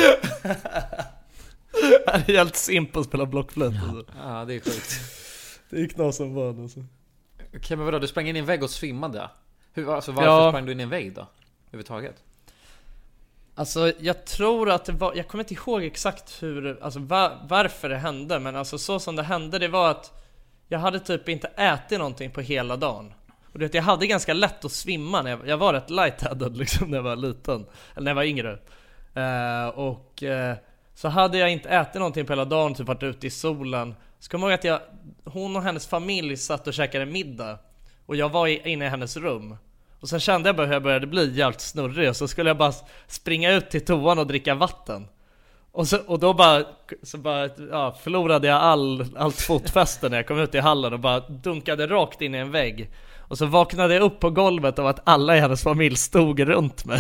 Det är helt simpelt att spela blockflöjt alltså.
Ja, det är sjukt.
Det är knas som fan alltså.
Okej, men vadå? Du sprang in i en vägg och svimmade? Hur, alltså varför
Ja.
sprang du in i en vägg då? Överhuvudtaget?
Alltså jag tror att det var, jag kommer inte ihåg exakt hur, alltså va, varför det hände men alltså så som det hände det var att jag hade typ inte ätit någonting på hela dagen. Och du vet, jag hade ganska lätt att svimma när jag, jag var rätt lightheaded liksom när jag var liten. Eller när jag var yngre. Eh, och eh, så hade jag inte ätit någonting på hela dagen, typ varit ute i solen. Så kommer jag ihåg att jag, hon och hennes familj satt och käkade middag. Och jag var i, inne i hennes rum. Och sen kände jag bara hur jag började bli jävligt snurrig och så skulle jag bara s- springa ut till toan och dricka vatten. Och, så, och då bara, så bara ja, förlorade jag all, allt fotfäste när jag kom ut i hallen och bara dunkade rakt in i en vägg. Och så vaknade jag upp på golvet av att alla i hennes familj stod runt mig.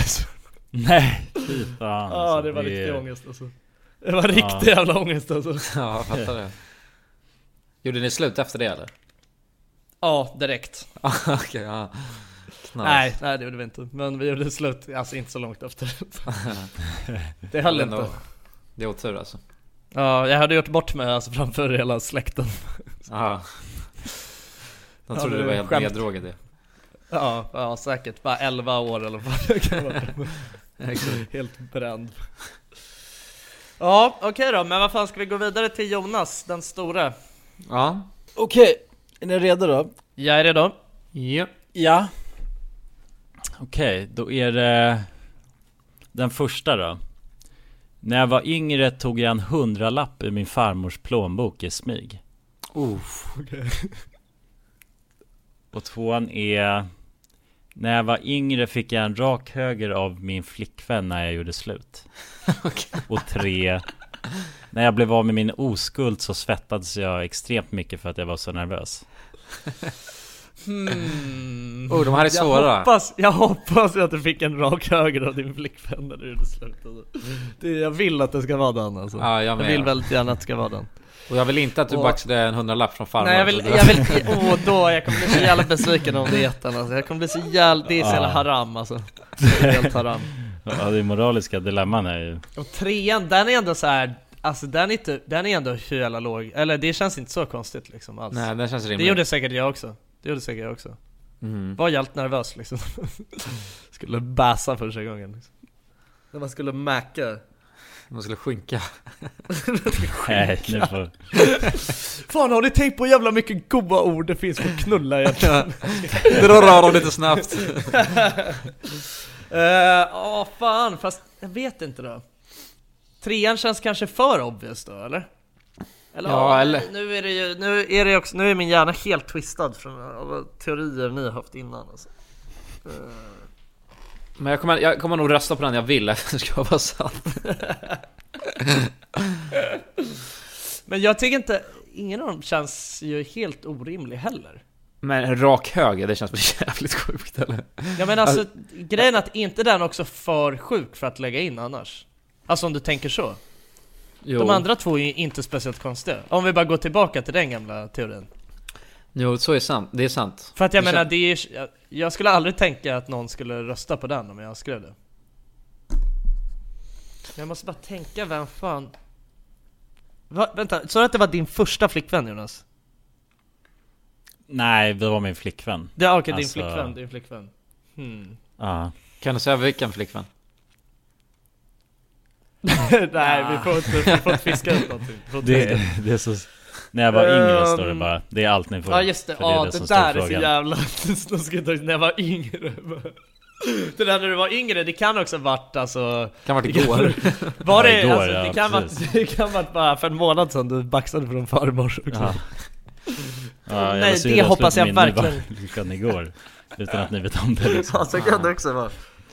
Nej, fy fan.
Ja,
alltså.
det var
är-
riktig ångest alltså. Det var riktig jävla ångest alltså.
Ja, jag fattar det. Gjorde ni slut efter det eller?
Ja, direkt.
Okej, ja. Knas.
Nej, nej det gjorde vi inte. Men vi gjorde slut, alltså inte så långt efter. det höll
Det är
inte.
nog- Det är otur alltså.
Ja, jag hade gjort bort mig alltså framför hela släkten.
Ja. De
Ja,
trodde
det
du
är
var helt
skämt.
neddrogad ju.
Ja, ja säkert. Bara 11 år eller vad det kan vara. Helt bränd. Ja, okej då. Men vad fan ska vi gå vidare till Jonas, den stora?
Ja.
Okej, är ni redo då?
Jag är redo.
Ja.
Ja. Okej, då är det den första då. När jag var yngre tog jag en hundralapp ur min farmors plånbok i smyg.
Uff.
Och tvåan är När jag var yngre fick jag en rak höger av min flickvän när jag gjorde slut Och tre När jag blev av med min oskuld så svettades jag extremt mycket för att jag var så nervös
Hmm.
Oh, de här är
Jag
svåra.
hoppas, jag hoppas att du fick en rak höger av din flickvän när du gjorde slut alltså. det, Jag vill att det ska vara den alltså.
Ja, jag
jag
med.
vill väldigt gärna att det ska vara den.
Och jag vill inte att du
Åh.
baxade en hundralapp från farmor.
Nej jag vill, jag vill, åh då, jag kommer bli så jävla besviken om det är ettan alltså. Jag kommer bli så jävla, det är så jävla haram alltså. Det är helt haram.
Ja det moraliska dilemman är ju
Och trean, den är ändå så här. Alltså den är, typ, den är ändå hur jävla låg, eller det känns inte så konstigt liksom alls
Nej, den känns
Det
rimlig.
gjorde säkert jag också, det gjorde säkert jag också
Mm.
Var jävligt nervös liksom Skulle bäsa första gången liksom. När man skulle mäka
Man skulle skinka.
Nej nu får
Fan har ni tänkt på hur jävla mycket goda ord det finns för knulla egentligen?
Dra röran lite snabbt.
Eh, Ja fan, fast jag vet inte då Trean känns kanske för obvious då eller? Eller,
Ja,
ja,
eller-
Nu är det ju, nu är det också, nu är min hjärna helt twistad från av teorier ni har haft innan alltså.
Men jag kommer, jag kommer nog rösta på den jag vill eftersom det ska vara sant.
Men jag tycker inte, ingen av dem känns ju helt orimlig heller.
Men en rak höger, det känns väl jävligt sjukt eller?
Jag menar alltså, grejen är att inte den också för sjuk för att lägga in annars? Alltså om du tänker så.
Jo.
De andra två är ju inte speciellt konstiga. Om vi bara går tillbaka till den gamla teorin.
Jo, så är sant. Det är sant.
För att jag
Det kän-
menar, det är ju- jag- jag skulle aldrig tänka att någon skulle rösta på den om jag skrev det. Jag måste bara tänka, vem fan... Va, vänta, sa du att det var din första flickvän Jonas?
Nej det var min flickvän
Det, ah, okej,
Alltså-
din flickvän, din flickvän. Hmm.
Ja.
Kan du säga vilken flickvän?
Nej, vi får inte, vi får inte fiska ut någonting. Vi får inte fiska
Det,
ut.
det är så... När jag var yngre står det
Ehm,
bara, det är allt ni får.
Ja just det,
För
ja
är
det,
som står i
där är så
frågan.
jävla... De ska jag ta- när jag var yngre Det där när du var yngre, det kan också varit alltså...
Kan varit igår.
Var det,
Ja, igår,
alltså,
ja,
det, kan varit,
precis.
det kan varit bara för en månad sedan du baxade från farmor också.
Ja. Ja, jag
Nej,
var sur
det
jag
hoppas
slog
jag
min nuva-
verkligen.
lyckan igår. Utan att ni vet om det liksom.
Ja, så kan det också vara.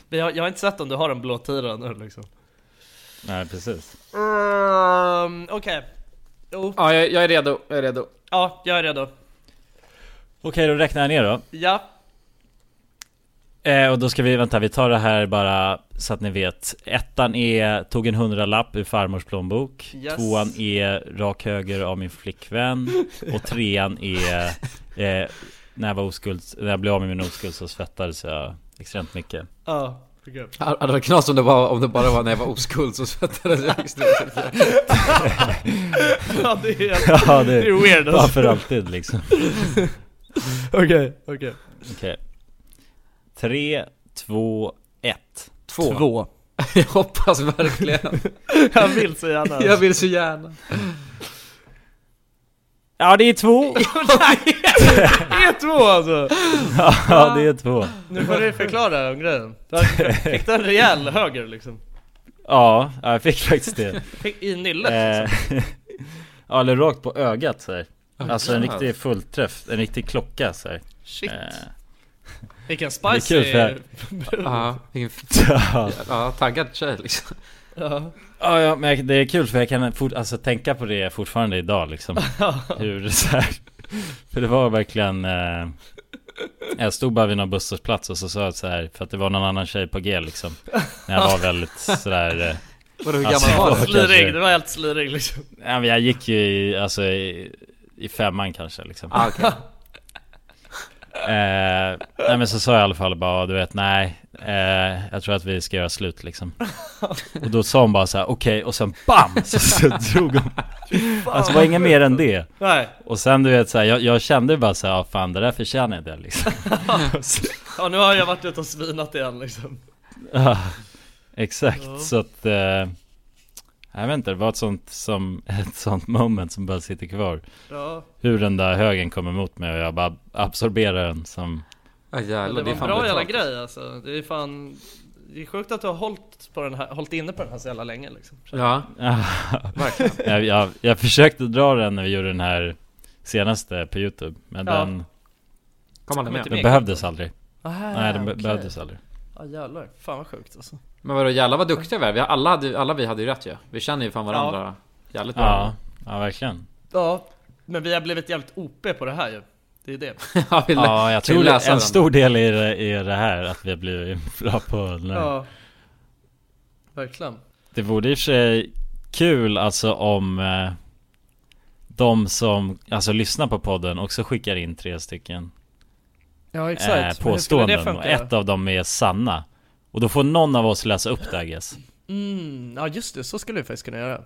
Men jag, jag har inte sett om du har en blå tira nu liksom.
Nej, precis.
Um, Okej. Jo.
Ja, jag, jag är redo. Jag är redo.
Ja, jag är redo.
Okej, då räknar jag ner då.
Ja.
Eh, och då ska vi, vänta, vi tar det här bara så att ni vet. Ettan är, tog en hundralapp ur farmors plånbok.
Yes.
Tvåan är rak höger av min flickvän. Och trean är, eh, när jag var oskuld, när jag blev av med min oskuld så svettades jag extremt mycket.
Ja. okej.
Hade det varit knas om det, bara, om det bara var när jag var oskuld så svettades jag extremt mycket.
Ja, det är,
Ja,
det är weird
Ja,
alltså.
för alltid liksom.
Okej, okej.
Okej. Tre, två, ett.
Två. Jag hoppas verkligen.
Jag vill så gärna.
Jag vill så gärna.
Ja, det är två.
Det är två alltså!
Ja, det är två.
Nu får du förklara om grejen. Du har- Fick du en rejäl höger liksom?
Ja, jag fick faktiskt det.
Fick i nyllet?
Eh, ja, eller rakt på ögat så här. Alltså en
God.
riktig fullträff, en riktig klocka så här.
Shit.
Eh,
Vilken
är
spicy...
kul, för jag-
Ja, vilken f-
ja.
ja, taggad tjej liksom.
Ja.
Ja, ja, men jag- det är kul för jag kan fort, alltså, tänka på det fortfarande idag liksom. Hur så här. För det var verkligen... Eh, jag stod bara vid någon busshållplats och så sa jag så här, för att det var någon annan tjej på G liksom. När jag var väldigt sådär... Eh,
Vadå, hur
Alltså,
gammal var du?
kanske-
Slirig, det var helt slirig liksom.
ja, men jag gick ju i, alltså, i, i femman kanske liksom.
Ah, okej.
Eh, nej men så sa jag i alla fall bara, du vet nej, eh, jag tror att vi ska göra slut liksom. Och då sa hon bara så här: okej, och sen BAM! Så, så drog hon. Alltså det var inget mer än det.
Nej.
Och sen du vet så här, jag, jag kände bara så här, ja fan det där förtjänar jag det liksom.
Ja nu har jag varit ute och svinat igen liksom.
Ja, Exakt,
Ja.
så att, eh, jag vet inte, det var ett sånt, som, ett sånt moment som bara sitter kvar.
Ja.
Hur den där högen kommer emot mig och jag bara absorberar den som,
Ah,
Men
jävlar, det
det var
är
en
fan
bra jävla
brutalt.
grej alltså. Det är fan... Det är sjukt att du har hållit, på den här, hållit inne på den här så jävla länge liksom.
Ja, verkligen.
jag, jag, jag försökte dra den när vi gjorde den här senaste på youtube Men
Ja.
den,
Kom aldrig
Men inte
med.
den
mer
behövdes aldrig
Ah,
Nej den be-
okej.
behövdes aldrig
Ja jävlar, fan vad sjukt alltså.
Men vadå, jävlar vad duktiga vi är. Vi har- Alla, hade, alla vi hade ju rätt ju. Vi känner ju fan varandra jävligt bra.
Ja, ja verkligen
Ja, men vi har blivit jävligt OP på det här ju. Det är det.
Ja, vi lä-
Ja jag
vi
tror
läser
en
den.
stor del i det, i det här att vi har blivit bra på den här.
Ja. Verkligen.
Det vore i och för sig kul alltså om eh, de som alltså lyssnar på podden också skickar in tre stycken
Ja
eh,
exakt.
påståenden och ett av dem är sanna Och då får någon av oss läsa upp det I guess.
Mm, ja just det, så skulle vi faktiskt kunna göra.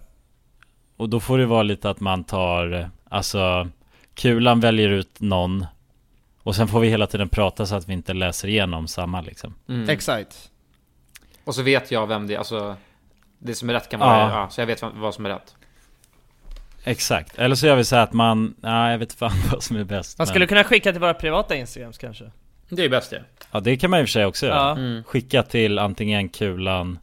Och då får det vara lite att man tar, alltså kulan väljer ut någon och sen får vi hela tiden prata så att vi inte läser igenom samma liksom.
Exakt.
Och så vet jag vem det är. Alltså, det som är rätt kan
Ja.
vara... Ja. så jag vet vem- vad som är rätt.
Exakt, eller så gör vi så här att man, nej jag vet fan vad som är bäst.
Man
men-
skulle kunna skicka till våra privata instagrams kanske?
Det är bäst det.
Ja det kan man i och för sig också göra.
Ja.
Skicka till antingen kulan,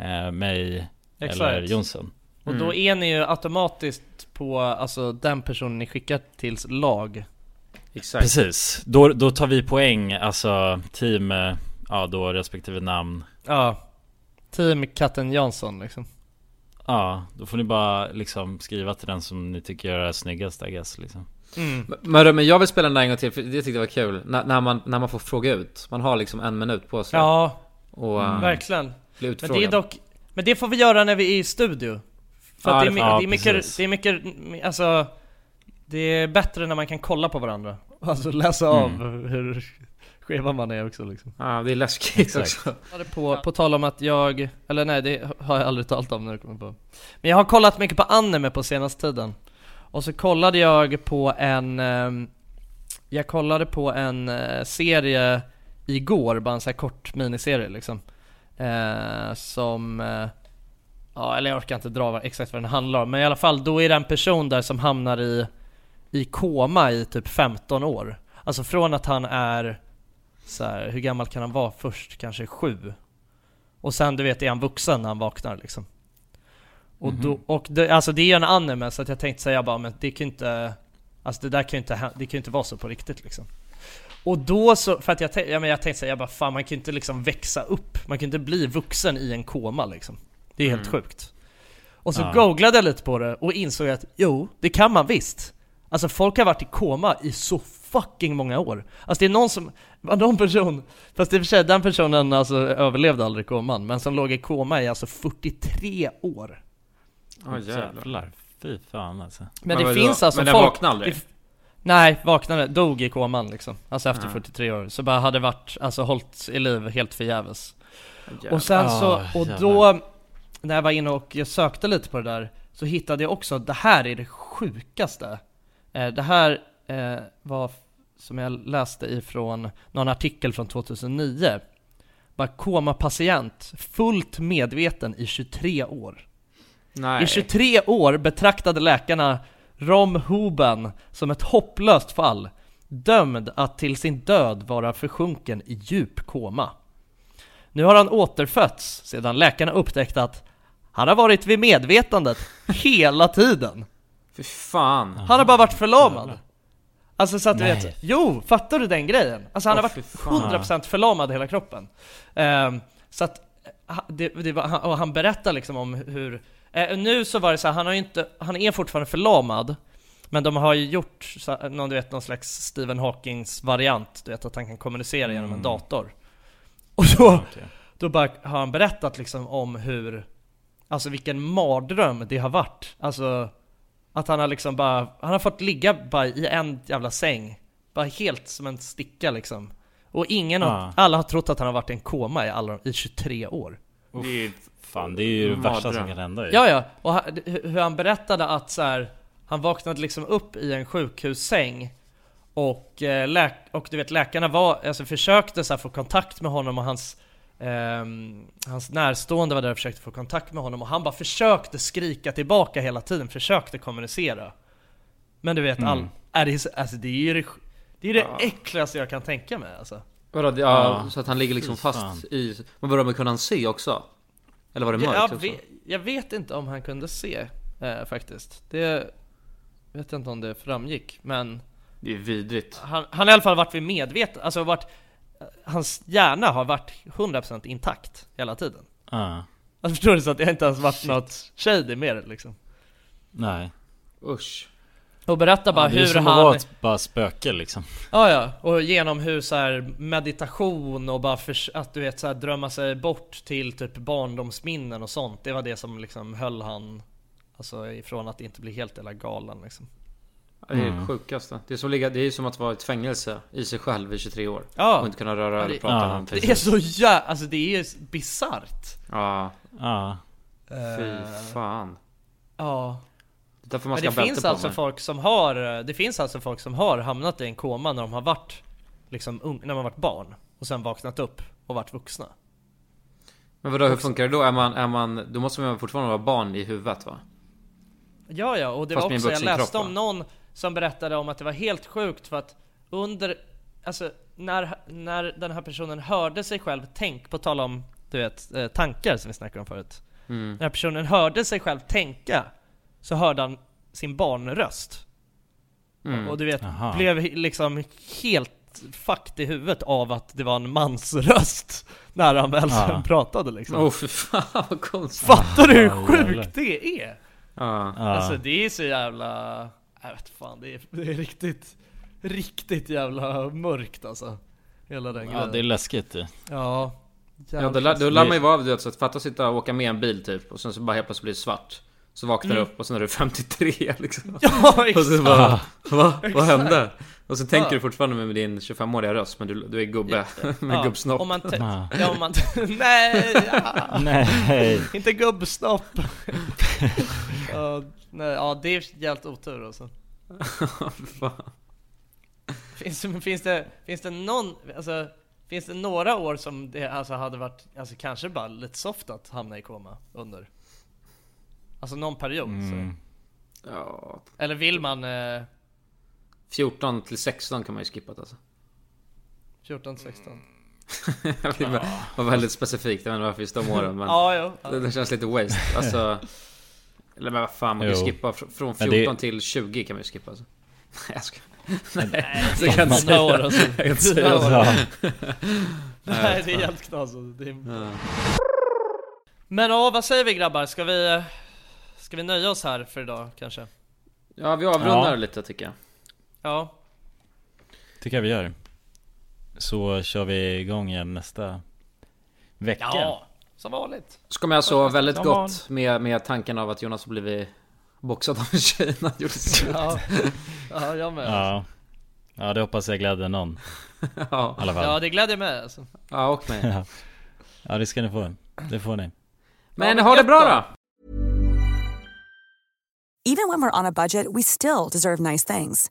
eh, mig
Exakt.
eller Mm. Jonsson.
Och då är ni ju automatiskt på alltså den personen ni skickar tills lag.
Exakt.
Precis, då, då tar vi poäng, alltså team, eh, ja då respektive namn.
Ja. Team Katten Jansson liksom.
Ja, då får ni bara liksom skriva till den som ni tycker är snyggast I guess liksom.
Mm.
Men, men jag vill spela den där en gång till, för det tyckte jag var kul. När, när, man, när man får fråga ut. Man har liksom en minut på sig.
Ja,
Och äh,
verkligen.
bli
Men det, är
utfrågad.
dock, men det får vi göra när vi är i studio. För
Ja,
att det,
det
är, my-
får- ja,
det, är mycket,
precis.
det är mycket, alltså Det är bättre när man kan kolla på varandra. Alltså läsa av hur skeva man är också liksom.
Ja, det är läskigt
Exakt.
också.
På, på tal om att jag, eller nej det har jag aldrig talat om när jag kommer på. Men jag har kollat mycket på anime på senaste tiden. Och så kollade jag på en, ehm, jag kollade på en eh, serie igår, bara en sån här kort miniserie liksom. Eh, som, eh, ja eller jag orkar inte dra vad- exakt vad den handlar om, men i alla fall då är det en person där som hamnar i, i koma i typ 15 år. Alltså från att han är, så här, hur gammal kan han vara först? Kanske sju? Och sen du vet är han vuxen när han vaknar liksom. Och, då,
Mhm.
och det, alltså det är ju en anime så att jag tänkte säga bara men det kan ju inte Alltså det där kan ju inte, hä- det kan ju inte vara så på riktigt liksom Och då så, för att jag, tän- ja, men jag tänkte säga jag bara fan man kan ju inte liksom växa upp Man kan ju inte bli vuxen i en koma liksom Det är helt
Mm.
sjukt Och så
Ja.
googlade jag lite på det och insåg att jo, det kan man visst Alltså folk har varit i koma i så fucking många år Alltså det är någon som, var någon person Fast i och för sig den personen alltså överlevde aldrig koman Men som låg i koma i alltså 43 år
Åh jävlar, fy fan alltså
Men, det finns alltså folk... det- nej, vaknade, dog i koman liksom. Alltså efter
Ah.
43 år. Så bara hade varit, alltså hållt i liv helt förgäves.
Jävlar.
Och sen så,
Ah,
och då, när jag var inne och jag sökte lite på det där, så hittade jag också, det här är det sjukaste. Eh, Det här eh, var, f- som jag läste ifrån någon artikel från 2009. Bara komapatient, fullt medveten i 23 år.
Nej.
I 23 år betraktade läkarna Rom Hoban som ett hopplöst fall, dömd att till sin död vara försjunken i djup koma. Nu har han återfötts sedan läkarna upptäckte att han har varit vid medvetandet hela tiden.
Fy fan.
Han har bara varit förlamad. Alltså så att du
Nej.
vet, jo, fattar du den grejen? Alltså han
Åh,
har
fy
varit
fan.
100% förlamad i hela kroppen. Ehm, så att, eh, ha- det, det var, han- och han berättar liksom om hur, eh, nu så var det så här, han har ju inte, han är fortfarande förlamad, men de har ju gjort så, någon, du vet, någon slags Stephen Hawkings variant, du vet att han kan kommunicera genom
Mm.
en dator. Och då, då bara har han berättat liksom om hur, alltså vilken mardröm det har varit. Alltså att han har liksom bara, han har fått ligga bara i en jävla säng. Bara helt som en sticka liksom. Och ingen har,
Ja.
alla har trott att han har varit i en koma i, alla, i 23 år.
Det är, fan det är ju det
Mm.
värsta som
Mardröm.
kan hända ju
Ja, ja. Och ha- d- hu- hur han berättade att så här, han vaknade liksom upp i en sjukhussäng och, eh, läk och du vet läkarna var, alltså försökte så här, få kontakt med honom och hans ehm, Hans närstående var där och försökte få kontakt med honom och han bara försökte skrika tillbaka hela tiden, försökte kommunicera Men du vet, all,
Mm.
är det, är så- alltså, det är ju det, sj- det, är det äckligaste jag kan tänka mig alltså
Vadå, det- ja,
Ja.
så att han ligger liksom
Fy
fast
fan.
i... Men vadå, men kunde han se också? Eller var det mörkt
jag,
också?
vet, jag vet inte om han kunde se eh, faktiskt. Det vet jag inte om det framgick, men...
Det är vidrigt.
Han, han har i alla fall varit vid medveten, alltså varit... Hans hjärna har varit 100% intakt hela tiden.
Ja.
Alltså förstår du? Så att det har inte ens varit något shady med det liksom.
Nej
Usch.
Och berätta bara
ja, Det är ju
hur
som
han...
att vara ett bara spöke liksom
Ja, ja. Och genom hur så här meditation och bara förs- att du vet så här drömma sig bort till typ barndomsminnen och sånt. Det var det som liksom höll han alltså ifrån att inte bli helt jävla galen liksom.
Det är det
Mm.
sjukaste. Det är, som att ligga, det är som att vara i ett fängelse i sig själv i 23 år.
Ja.
Och inte kunna röra
Ja,
eller
det-
prata med någon.
Det är så jä... Alltså det är ju bisarrt.
Ja.
Ja.
Fy
Eh.
fan.
Ja.
Det är därför man
Men
ska
det
ha
finns
bälte på
alltså
mig.
folk som har, det finns alltså folk som har hamnat i en koma när de har varit liksom ung, när man varit barn och sen vaknat upp och varit vuxna.
Men vadå, hur funkar det då? Är man, är man, då måste man fortfarande vara barn i huvudet va?
Ja, ja, och det
Fast
var
med en
också, jag
vuxen
läste
kropp,
om någon som berättade om att det var helt sjukt för att under, alltså när, när den här personen hörde sig själv, tänk, på tal om du vet, eh, tankar som vi snackade om förut.
Mm.
När personen hörde sig själv tänka så hörde han sin barnröst.
Mm.
Och du vet,
Aha.
blev liksom helt fucked i huvudet av att det var en mans röst när han väl
Ja.
pratade liksom.
Åh, för fan, vad konstigt.
Fattar du hur
Ja,
sjukt
Ah, jävlar.
det är?
Ja. Ja.
Alltså det är så jävla... Jag vet fan, det är, det är riktigt, riktigt jävla mörkt alltså. Hela den
Ja
grejen.
det är läskigt det
Ja.
Ja, då, lär- då lär man ju vara av det. Så att fatta att sitta och åka med en bil typ och sen så bara helt plötsligt blir det svart. Så vaknar du
Mm.
upp och sen är du 53 liksom.
Ja,
Och så
exakt.
Ah.
bara, va? Vad
Exakt. Ah.
hände? Och så tänker
Ja.
du fortfarande med din 25-åriga röst men du, du är gubbe med
ja,
gubbsnopp.
Ah. Om man te-
Ja.
ja, om man nej! ja.
Nej.
Inte gubbsnopp! ja, nej, ja, det är jävligt otur alltså.
Fan.
Finns, finns, det, finns det någon, alltså, Finns det några år som det alltså hade varit, alltså kanske bara lite soft att hamna i koma under? Alltså någon period
Mm.
så. Ja. Eller vill man eh,
14 till 16 kan man ju skippa alltså.
14 till 16?
Det var- var väldigt specifikt, jag vet inte varför just de åren men
Ah. Ja, jo, ja.
Det, det känns lite waste. Alltså, eller men vad fan, man kan ju
Jo.
skippa fr- från
Men
14
det-
till 20 kan man ju skippa alltså. Nej jag skojar.
Nej,
så kan jag inte
fyra
säga.
år, alltså.
Jag kan inte
Fyra
säga
år.
så.
Ja.
Nej,
Nej det
fan.
är helt knas alltså. det är...
Ja.
Men ja, vad säger vi grabbar? Ska vi, eh, ska vi nöja oss här för idag kanske?
Ja vi avrundar
Ja.
lite tycker jag.
Ja,
Tycker jag vi gör. Så kör vi igång igen nästa vecka.
ja som vanligt.
Så kommer jag sova alltså väldigt
Som
gott med, med tanken av att Jonas har blivit boxad av en tjej när han gjorde slut.
Ja, ja jag med. Ja,
Ja. Ja, det hoppas jag glädjer någon.
Ja.
I alla fall.
det glädjer mig alltså.
Ja, och mig.
Ja. ja, det ska ni få. Det får ni.
Men ha det bra då!
Even when we're on a budget, we still deserve nice things.